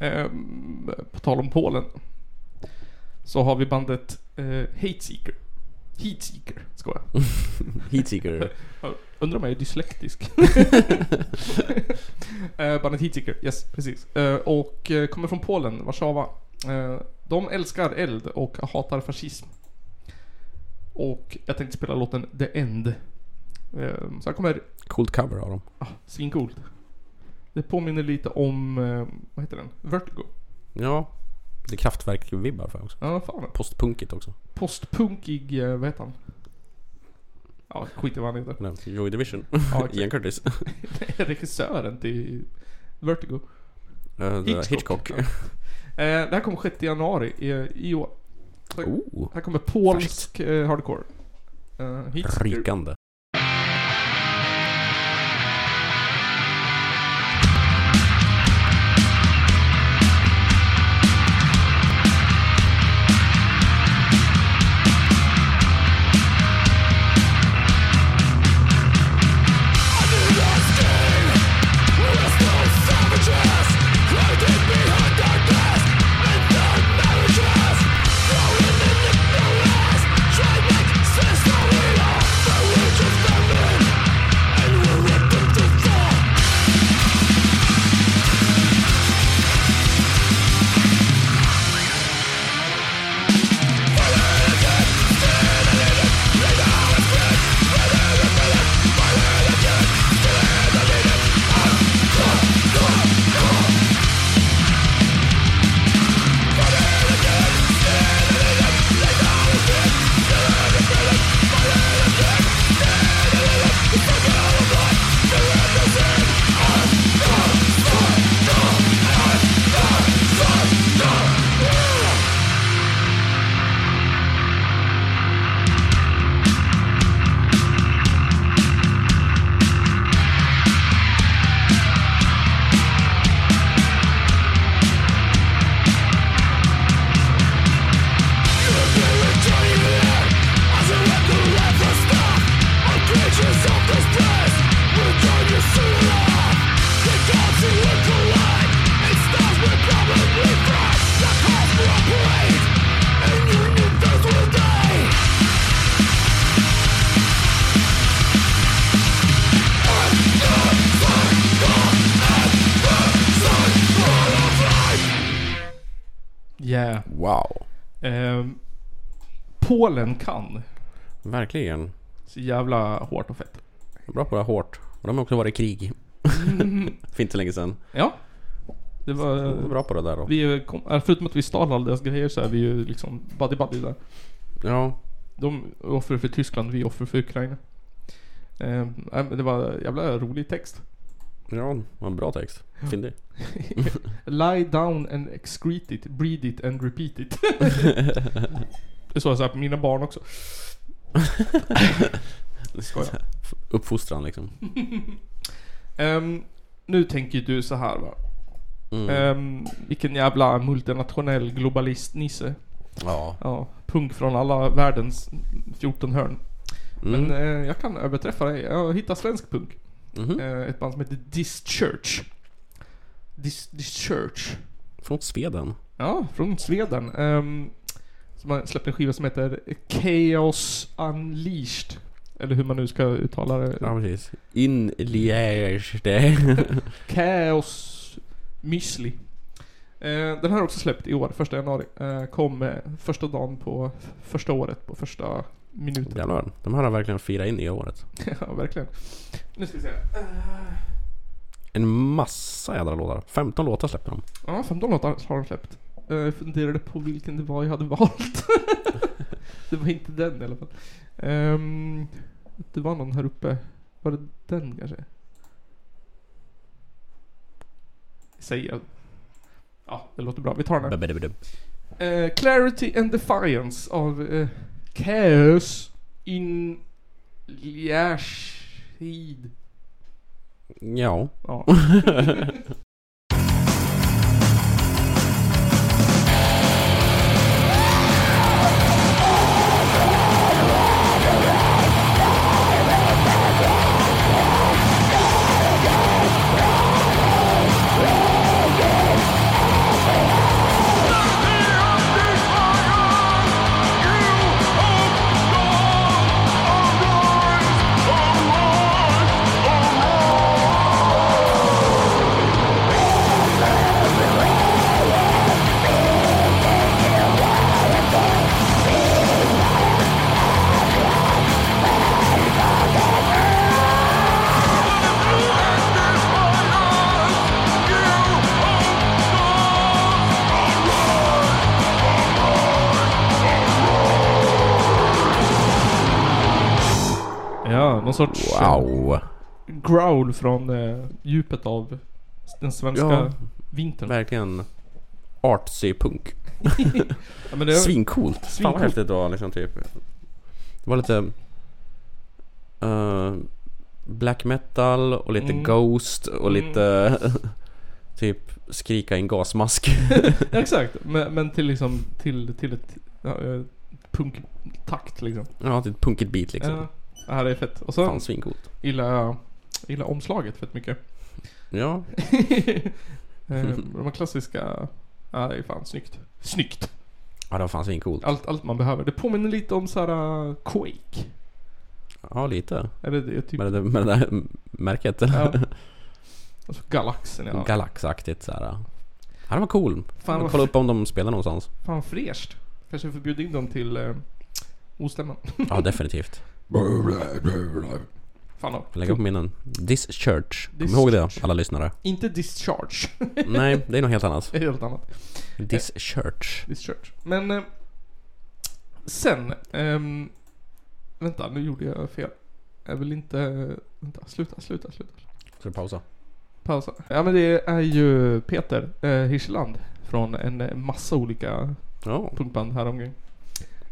S1: Ehm, på tal om Polen. Så har vi bandet eh, Hate Seeker. Heat Seeker, skojar.
S3: Heatseeker.
S1: Jag Undrar om jag är dyslektisk. eh, bandet Heatseeker, yes precis. Eh, och eh, kommer från Polen, Warszawa. Eh, de älskar eld och hatar fascism. Och jag tänkte spela låten The End. Eh, så här kommer
S3: Coolt cover av dem.
S1: Ah, svincoolt. Det påminner lite om, eh, vad heter den? Vertigo.
S3: Ja. Det är kraftverk-vibbar för också.
S1: Ja, fan.
S3: Postpunkigt också.
S1: Postpunkig, eh, vad heter han? Ja, skit i vad han heter.
S3: Nej, Joy Division.
S1: Ja, exakt.
S3: Ian Curtis.
S1: Regissören till Vertigo.
S3: Eh,
S1: Hitchcock.
S3: Hitchcock.
S1: Ja. Eh, det här kommer 6 januari i, i år.
S3: Oh.
S1: Här kommer polsk eh, hardcore. Eh, hits.
S3: Rykande.
S2: Try make
S1: Yeah.
S3: Wow.
S1: Ehm, Polen kan.
S3: Verkligen.
S1: Så jävla hårt och fett.
S3: Bra på det här hårt. Och de har också varit i krig. För inte länge sedan.
S1: Ja. Det var...
S3: Bra på det där då.
S1: Vi är ju kom, äh, förutom att vi stal alla deras grejer så är vi ju liksom buddy buddy där.
S3: Ja.
S1: De är offer för Tyskland, vi är offer för Ukraina. Ehm, nej, men det var jävla rolig text.
S3: Ja, vad en bra text. Fyndig.
S1: Lie down and excrete it, breed it and repeat it. det sa jag såhär på mina barn också. Skojar.
S3: Uppfostran liksom.
S1: Ehm, nu tänker ju du så här va. Ehm, vilken jävla multinationell globalist-nisse.
S3: Ja.
S1: Ja, punk från alla världens 14 hörn.
S3: Mm.
S1: Men eh, jag kan överträffa dig. Jag hittar svensk punk.
S3: Mhm. Mm.
S1: Eh, ett band som heter Dischurch. Dis, Dischurch.
S3: Från Sveden.
S1: Ja, från Sveden. Ehm, som har släppt en skiva som heter Chaos Unleashed. Eller hur man nu ska uttala det.
S3: Ja precis. In Liège. Det.
S1: Chaos Müsli. Eh, den här har också släppt i år, första januari. Eh, kom eh, första dagen på första året, på första minuten.
S3: Jävlar. De här har verkligen firat in i året.
S1: ja, verkligen. Nu ska vi se.
S3: En massa jädra låtar. 15 låtar släppte de.
S1: Ja, 15 låtar har de släppt. Eh, Jag funderade på vilken det var jag hade valt. det var inte den i alla fall. Ehm, det var någon här uppe. Var det den kanske? Säger jag. Ja, det låter bra. Vi tar den här.
S3: Babadabadab.
S1: Eh, Clarity and Defiance av eh, Chaos in Liashid.
S3: Ja.
S1: Ja. ja, någon sorts eh,
S3: Wow.
S1: growl från eh, djupet av s- den svenska
S3: Ja.
S1: vintern.
S3: Verkligen. Artsy punk.
S1: Ja, men det,
S3: Svincoolt. Fan
S1: Svincoolt.
S3: vad häftigt det var liksom typ. Det var lite... eh, black metal och lite
S1: Mm.
S3: Ghost och
S1: Mm.
S3: lite... typ skrika i en gasmask.
S1: ja, exakt. Men, men till liksom, till, till ett ja, eh, punktakt liksom.
S3: ja, typ punkigt beat liksom.
S1: Ja, det här är fett. Och
S3: Fan
S1: så
S3: svincoolt.
S1: gillar jag gillar omslaget fett mycket.
S3: Ja.
S1: Eh, De här klassiska... Ja, det är fan snyggt. Snyggt!
S3: Ja, det var fan svincoolt.
S1: Allt, allt man behöver. Det påminner lite om såhär uh, Quake.
S3: Ja, lite.
S1: Eller det är typ...
S3: Med det, med det där märket.
S1: Ja. Alltså galaxen ja.
S3: Galaxaktigt såhär. Ja, det var cool.
S1: Fan, vad
S3: Kolla
S1: f-
S3: upp om de spelar någonstans.
S1: Fan fräscht. Kanske får bjuda in dem till uh, ostämman.
S3: Ja, definitivt.
S1: Fan då.
S3: Lägga på minnen. This Church. Kom
S1: Typ. This
S3: ihåg det,
S1: Church.
S3: alla lyssnare.
S1: Inte discharge.
S3: Nej, det är något helt annat.
S1: det är helt annat.
S3: This Church.
S1: Discharge. Men... eh, sen... ehm, vänta, nu gjorde jag fel. Jag vill inte... Vänta, sluta, sluta, sluta.
S3: Ska du pausa?
S1: Pausa. Ja men det är ju Peter eh, Hirschland från en massa olika
S3: Ja.
S1: punkband häromkring.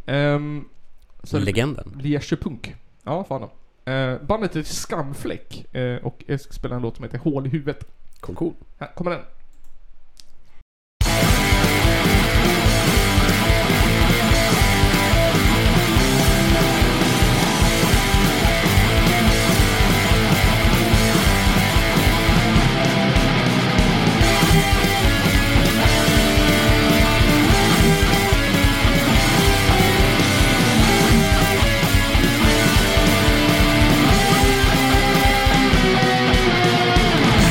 S1: Um, så
S3: Legenden.
S1: Liesjö Punk. Ja, fan då. Eh, bandet heter Skamfläck eh, och jag ska spela en låt som heter Hål i huvudet.
S3: Cool, cool.
S1: Här kommer den.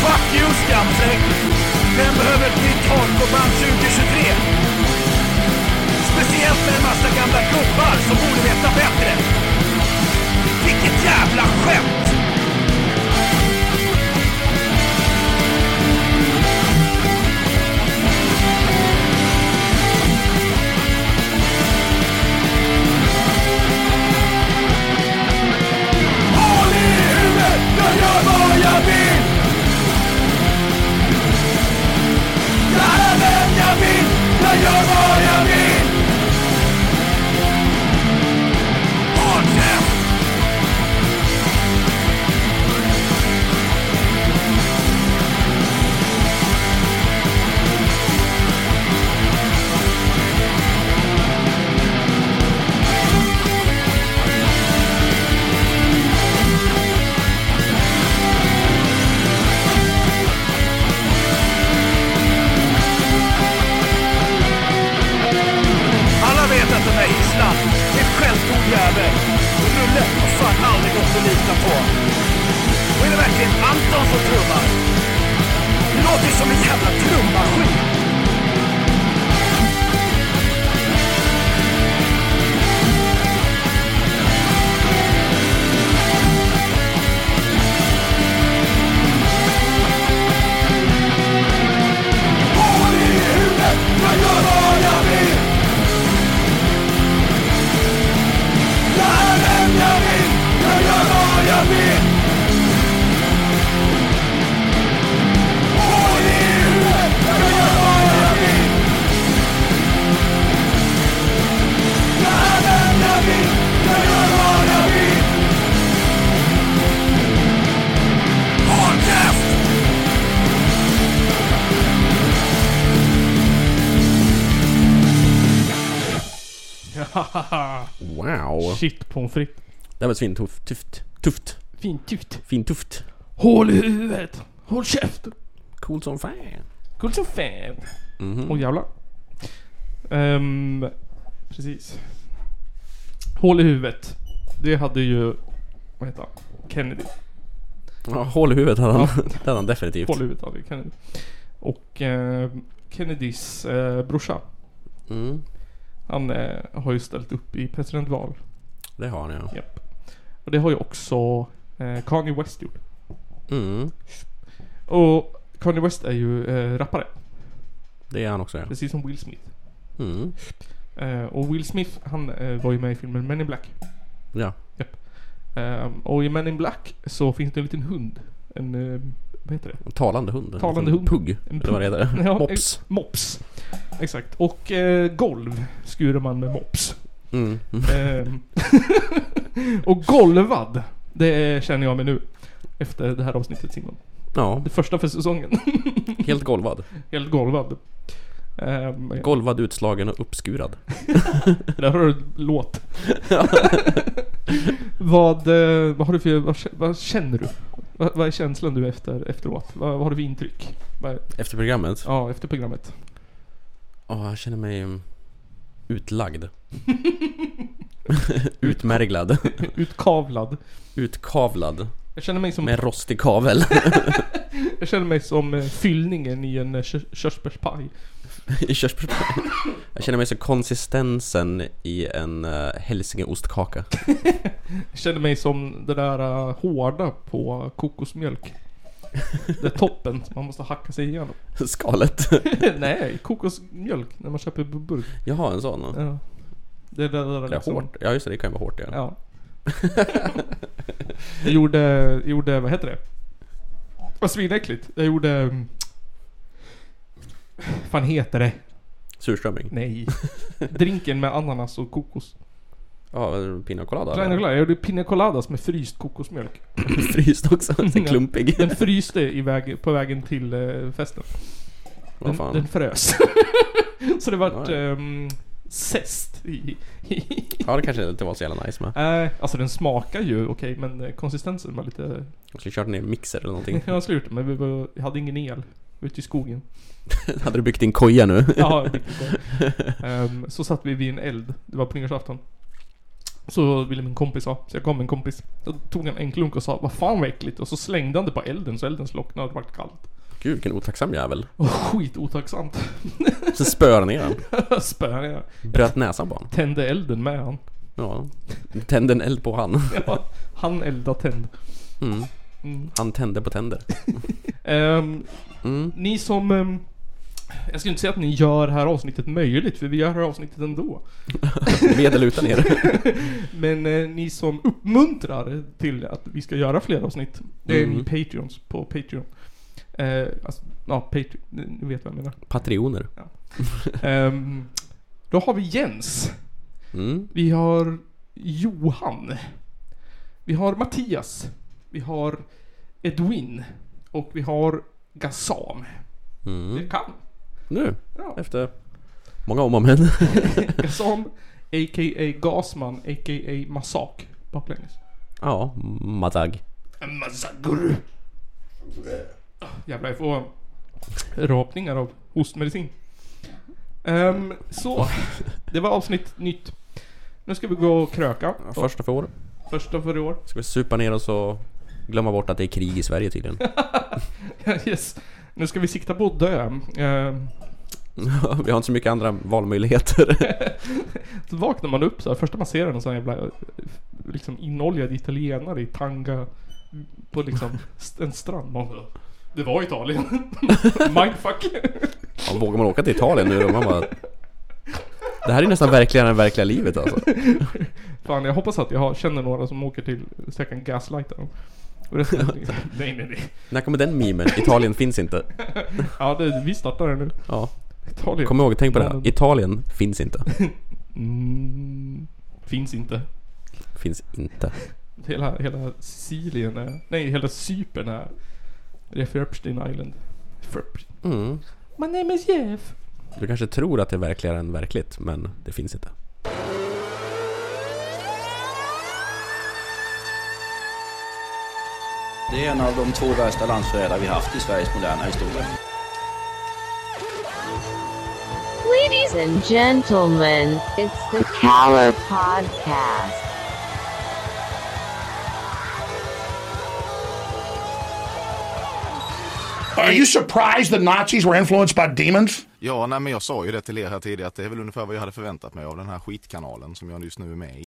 S11: Fuck you skamfläck! vad jag vill. Håll käft! Alla vet att den här gisslan är en självgod jävel. En rulle har fan aldrig gått att lita på. Och är det verkligen Anton som trummar? Det låter ju som en jävla trummaskin. Hål i huvudet, jag gör vad jag vill. Jag är vem jag vill, jag gör vad jag vill. Hål i huvudet, jag gör vad jag vill. Jag är vem jag vill, jag gör vad jag vill. Håll käft!
S3: Wow.
S1: Shit pommes frites.
S3: Det här var svintufft. Tufft. Tufft.
S1: Fintufft.
S3: Fintufft.
S1: Hål i huvudet! Håll käften!
S3: Coolt som fan.
S1: Coolt som fan.
S3: Mhm.
S1: Åh jävlar. Ehm, precis. Hål i huvudet. Det hade ju... Vad heter han? Kennedy.
S3: Ja, hål i huvudet hade han,
S1: Ja.
S3: det hade han definitivt.
S1: Hål i huvudet hade ju Kennedy. Och ehm, Kennedys eh, brorsa.
S3: Mm,
S1: Han eh, har ju ställt upp i presidentval.
S3: Det har han ja.
S1: Japp. Och det har ju också eh, Kanye West gjort.
S3: Mm.
S1: Och Kanye West är ju eh, rappare.
S3: Det är han också ja.
S1: Precis som Will Smith.
S3: Mm.
S1: Eh, och Will Smith, han eh, var ju med i filmen Men in Black.
S3: Ja.
S1: Japp. Ehm, och i Men in Black så finns det en liten hund. En, eh, vad heter det?
S3: En talande hund. En
S1: Talande
S3: liten
S1: hund.
S3: Pugg.
S1: En
S3: Eller vad det heter.
S1: Ja,
S3: Mops.
S1: ex- mops. Exakt. Och eh, golv skurar man med mops.
S3: Mm.
S1: Ehm, och golvad, det känner jag mig nu. Efter det här avsnittet Simon.
S3: Ja.
S1: Det första för säsongen.
S3: Helt golvad.
S1: Helt golvad. Ehm,
S3: Golvad, utslagen och uppskurad.
S1: Där har du en låt. vad, eh, vad har du för, vad, kä- vad känner du? Vad, vad är känslan du efter, efteråt? Vad, vad har du för intryck? Vad,
S3: Efter programmet?
S1: ja, efter programmet.
S3: Ja, jag känner mig mm, utlagd. Utmärglad.
S1: Utkavlad.
S3: Utkavlad.
S1: Jag känner mig som...
S3: Med en rostig kavel.
S1: jag känner mig som eh, fyllningen i en eh, kö- körsbärspaj.
S3: I körsbärspark. Jag känner mig som konsistensen i en uh, hälsingeostkaka.
S1: Jag känner mig som det där eh, hårda på kokosmjölk. Det är toppen som man måste hacka sig igenom.
S3: Skalet.
S1: Nej, kokosmjölk när man köper på burk.
S3: Jag har en sån.
S1: Ja. Det är det där
S3: Eller
S1: liksom...
S3: hårt. Ja just det, det kan ju vara hårt ja.
S1: Ja. jag gjorde, gjorde, vad heter det? Vad svinäckligt. Jag gjorde... mm, fan heter det?
S3: Surströmming.
S1: Nej. Drinken med ananas och kokos.
S3: Ja, pina colada.
S1: Pina colada. Jag gjorde pina coladas med fryst kokosmjölk.
S3: Fryst också, så
S1: Ja.
S3: klumpig.
S1: Den fryste i väg, på vägen till eh, festen.
S3: Vad
S1: Den,
S3: fan.
S1: den frös. så det vart
S3: Ja, ja.
S1: ehm, zest i... i
S3: Ja det kanske inte var så jävla nice med.
S1: Nej, alltså den smakar ju okej men eh, konsistensen var lite
S3: Jag skulle kört ner i mixer eller någonting.
S1: Jag skulle gjort det, men vi var, jag hade ingen el ute i skogen.
S3: Hade du byggt din koja nu?
S1: Ja, riktigt bra. Ehm, Så satt vi vid en eld. Det var på nyårsafton. Så ville min kompis ha, så jag kom med en kompis. Då tog han en klunk och sa 'Vad fan vad äckligt' och så slängde han det på elden så elden slocknade och det vart kallt.
S3: Gud vilken otacksam jävel.
S1: Och skitotacksamt.
S3: Sen spöade ner den.
S1: Spöade jag.
S3: Bröt näsan på honom.
S1: Tände elden med han.
S3: Ja. Tände en eld på han.
S1: Ja, han elda tänd.
S3: Mm.
S1: Mm.
S3: Han tände på tänder.
S1: Ehm, Ni som... ehm, jag skulle inte säga att ni gör det här avsnittet möjligt, för vi gör det här avsnittet ändå.
S3: Med eller utan er.
S1: Men eh, ni som uppmuntrar till att vi ska göra fler avsnitt, det är
S3: Mm.
S1: ni Patreons på Patreon. Eh, alltså, ja, Patreon, ni vet vad jag menar.
S3: Patrioner.
S1: Ja. Ehm, då har vi Jens.
S3: Mm.
S1: Vi har Johan. Vi har Mattias. Vi har Edwin. Och vi har Gassam.
S3: Mm.
S1: Det kan.
S3: Nu,
S1: Ja.
S3: efter många om och men.
S1: Gassam, a.k.a. Gasman, a.k.a. Massak. Baklänges.
S3: ja, Matag.
S1: Mazaguru. Jävlar, jag får rapningar av hostmedicin. Ehm, så. Det var avsnitt nytt. Nu ska vi gå och kröka.
S3: Första för år.
S1: Första för i år.
S3: Ska vi supa ner oss och glömma bort att det är krig i Sverige tydligen.
S1: yes. Nu ska vi sikta på att dö. Ehm,
S3: vi har inte så mycket andra valmöjligheter.
S1: så vaknar man upp så här. Första man ser är en sån jävla eh, liksom inoljad italienare i tanga. På liksom st- en strand. Man bara, Det var Italien. Mindfuck.
S3: Ja, vågar man åka till Italien nu då? Man bara... Det här är nästan verkligare än verkliga livet alltså.
S1: Fan, jag hoppas att jag har, känner några som åker till så jag kan gaslighta dem. Och resten är liksom, nej, nej, nej.
S3: När kommer den memen? Italien finns inte.
S1: Ja, det, vi startar det nu.
S3: Ja.
S1: Italien.
S3: Kom ihåg, tänk på det.
S1: Mannen.
S3: Italien finns inte.
S1: Mm, finns inte.
S3: Finns inte.
S1: Hela, hela Sicilien är, nej hela Cypern är, det är Färpstein Island. Färp.
S3: Mm.
S1: My name is Jeff.
S3: Du kanske tror att det är verkligare än verkligt, men det finns inte.
S12: Det är en av de två värsta landsförrädare vi haft i Sveriges moderna historia.
S13: Ladies and gentlemen, it's the Power Podcast.
S14: Are you surprised that Nazis were influenced by demons?
S15: Ja, nej, men jag sa ju det till er här tidigare att det är väl ungefär vad jag hade förväntat mig av den här skitkanalen som jag just nu är med i.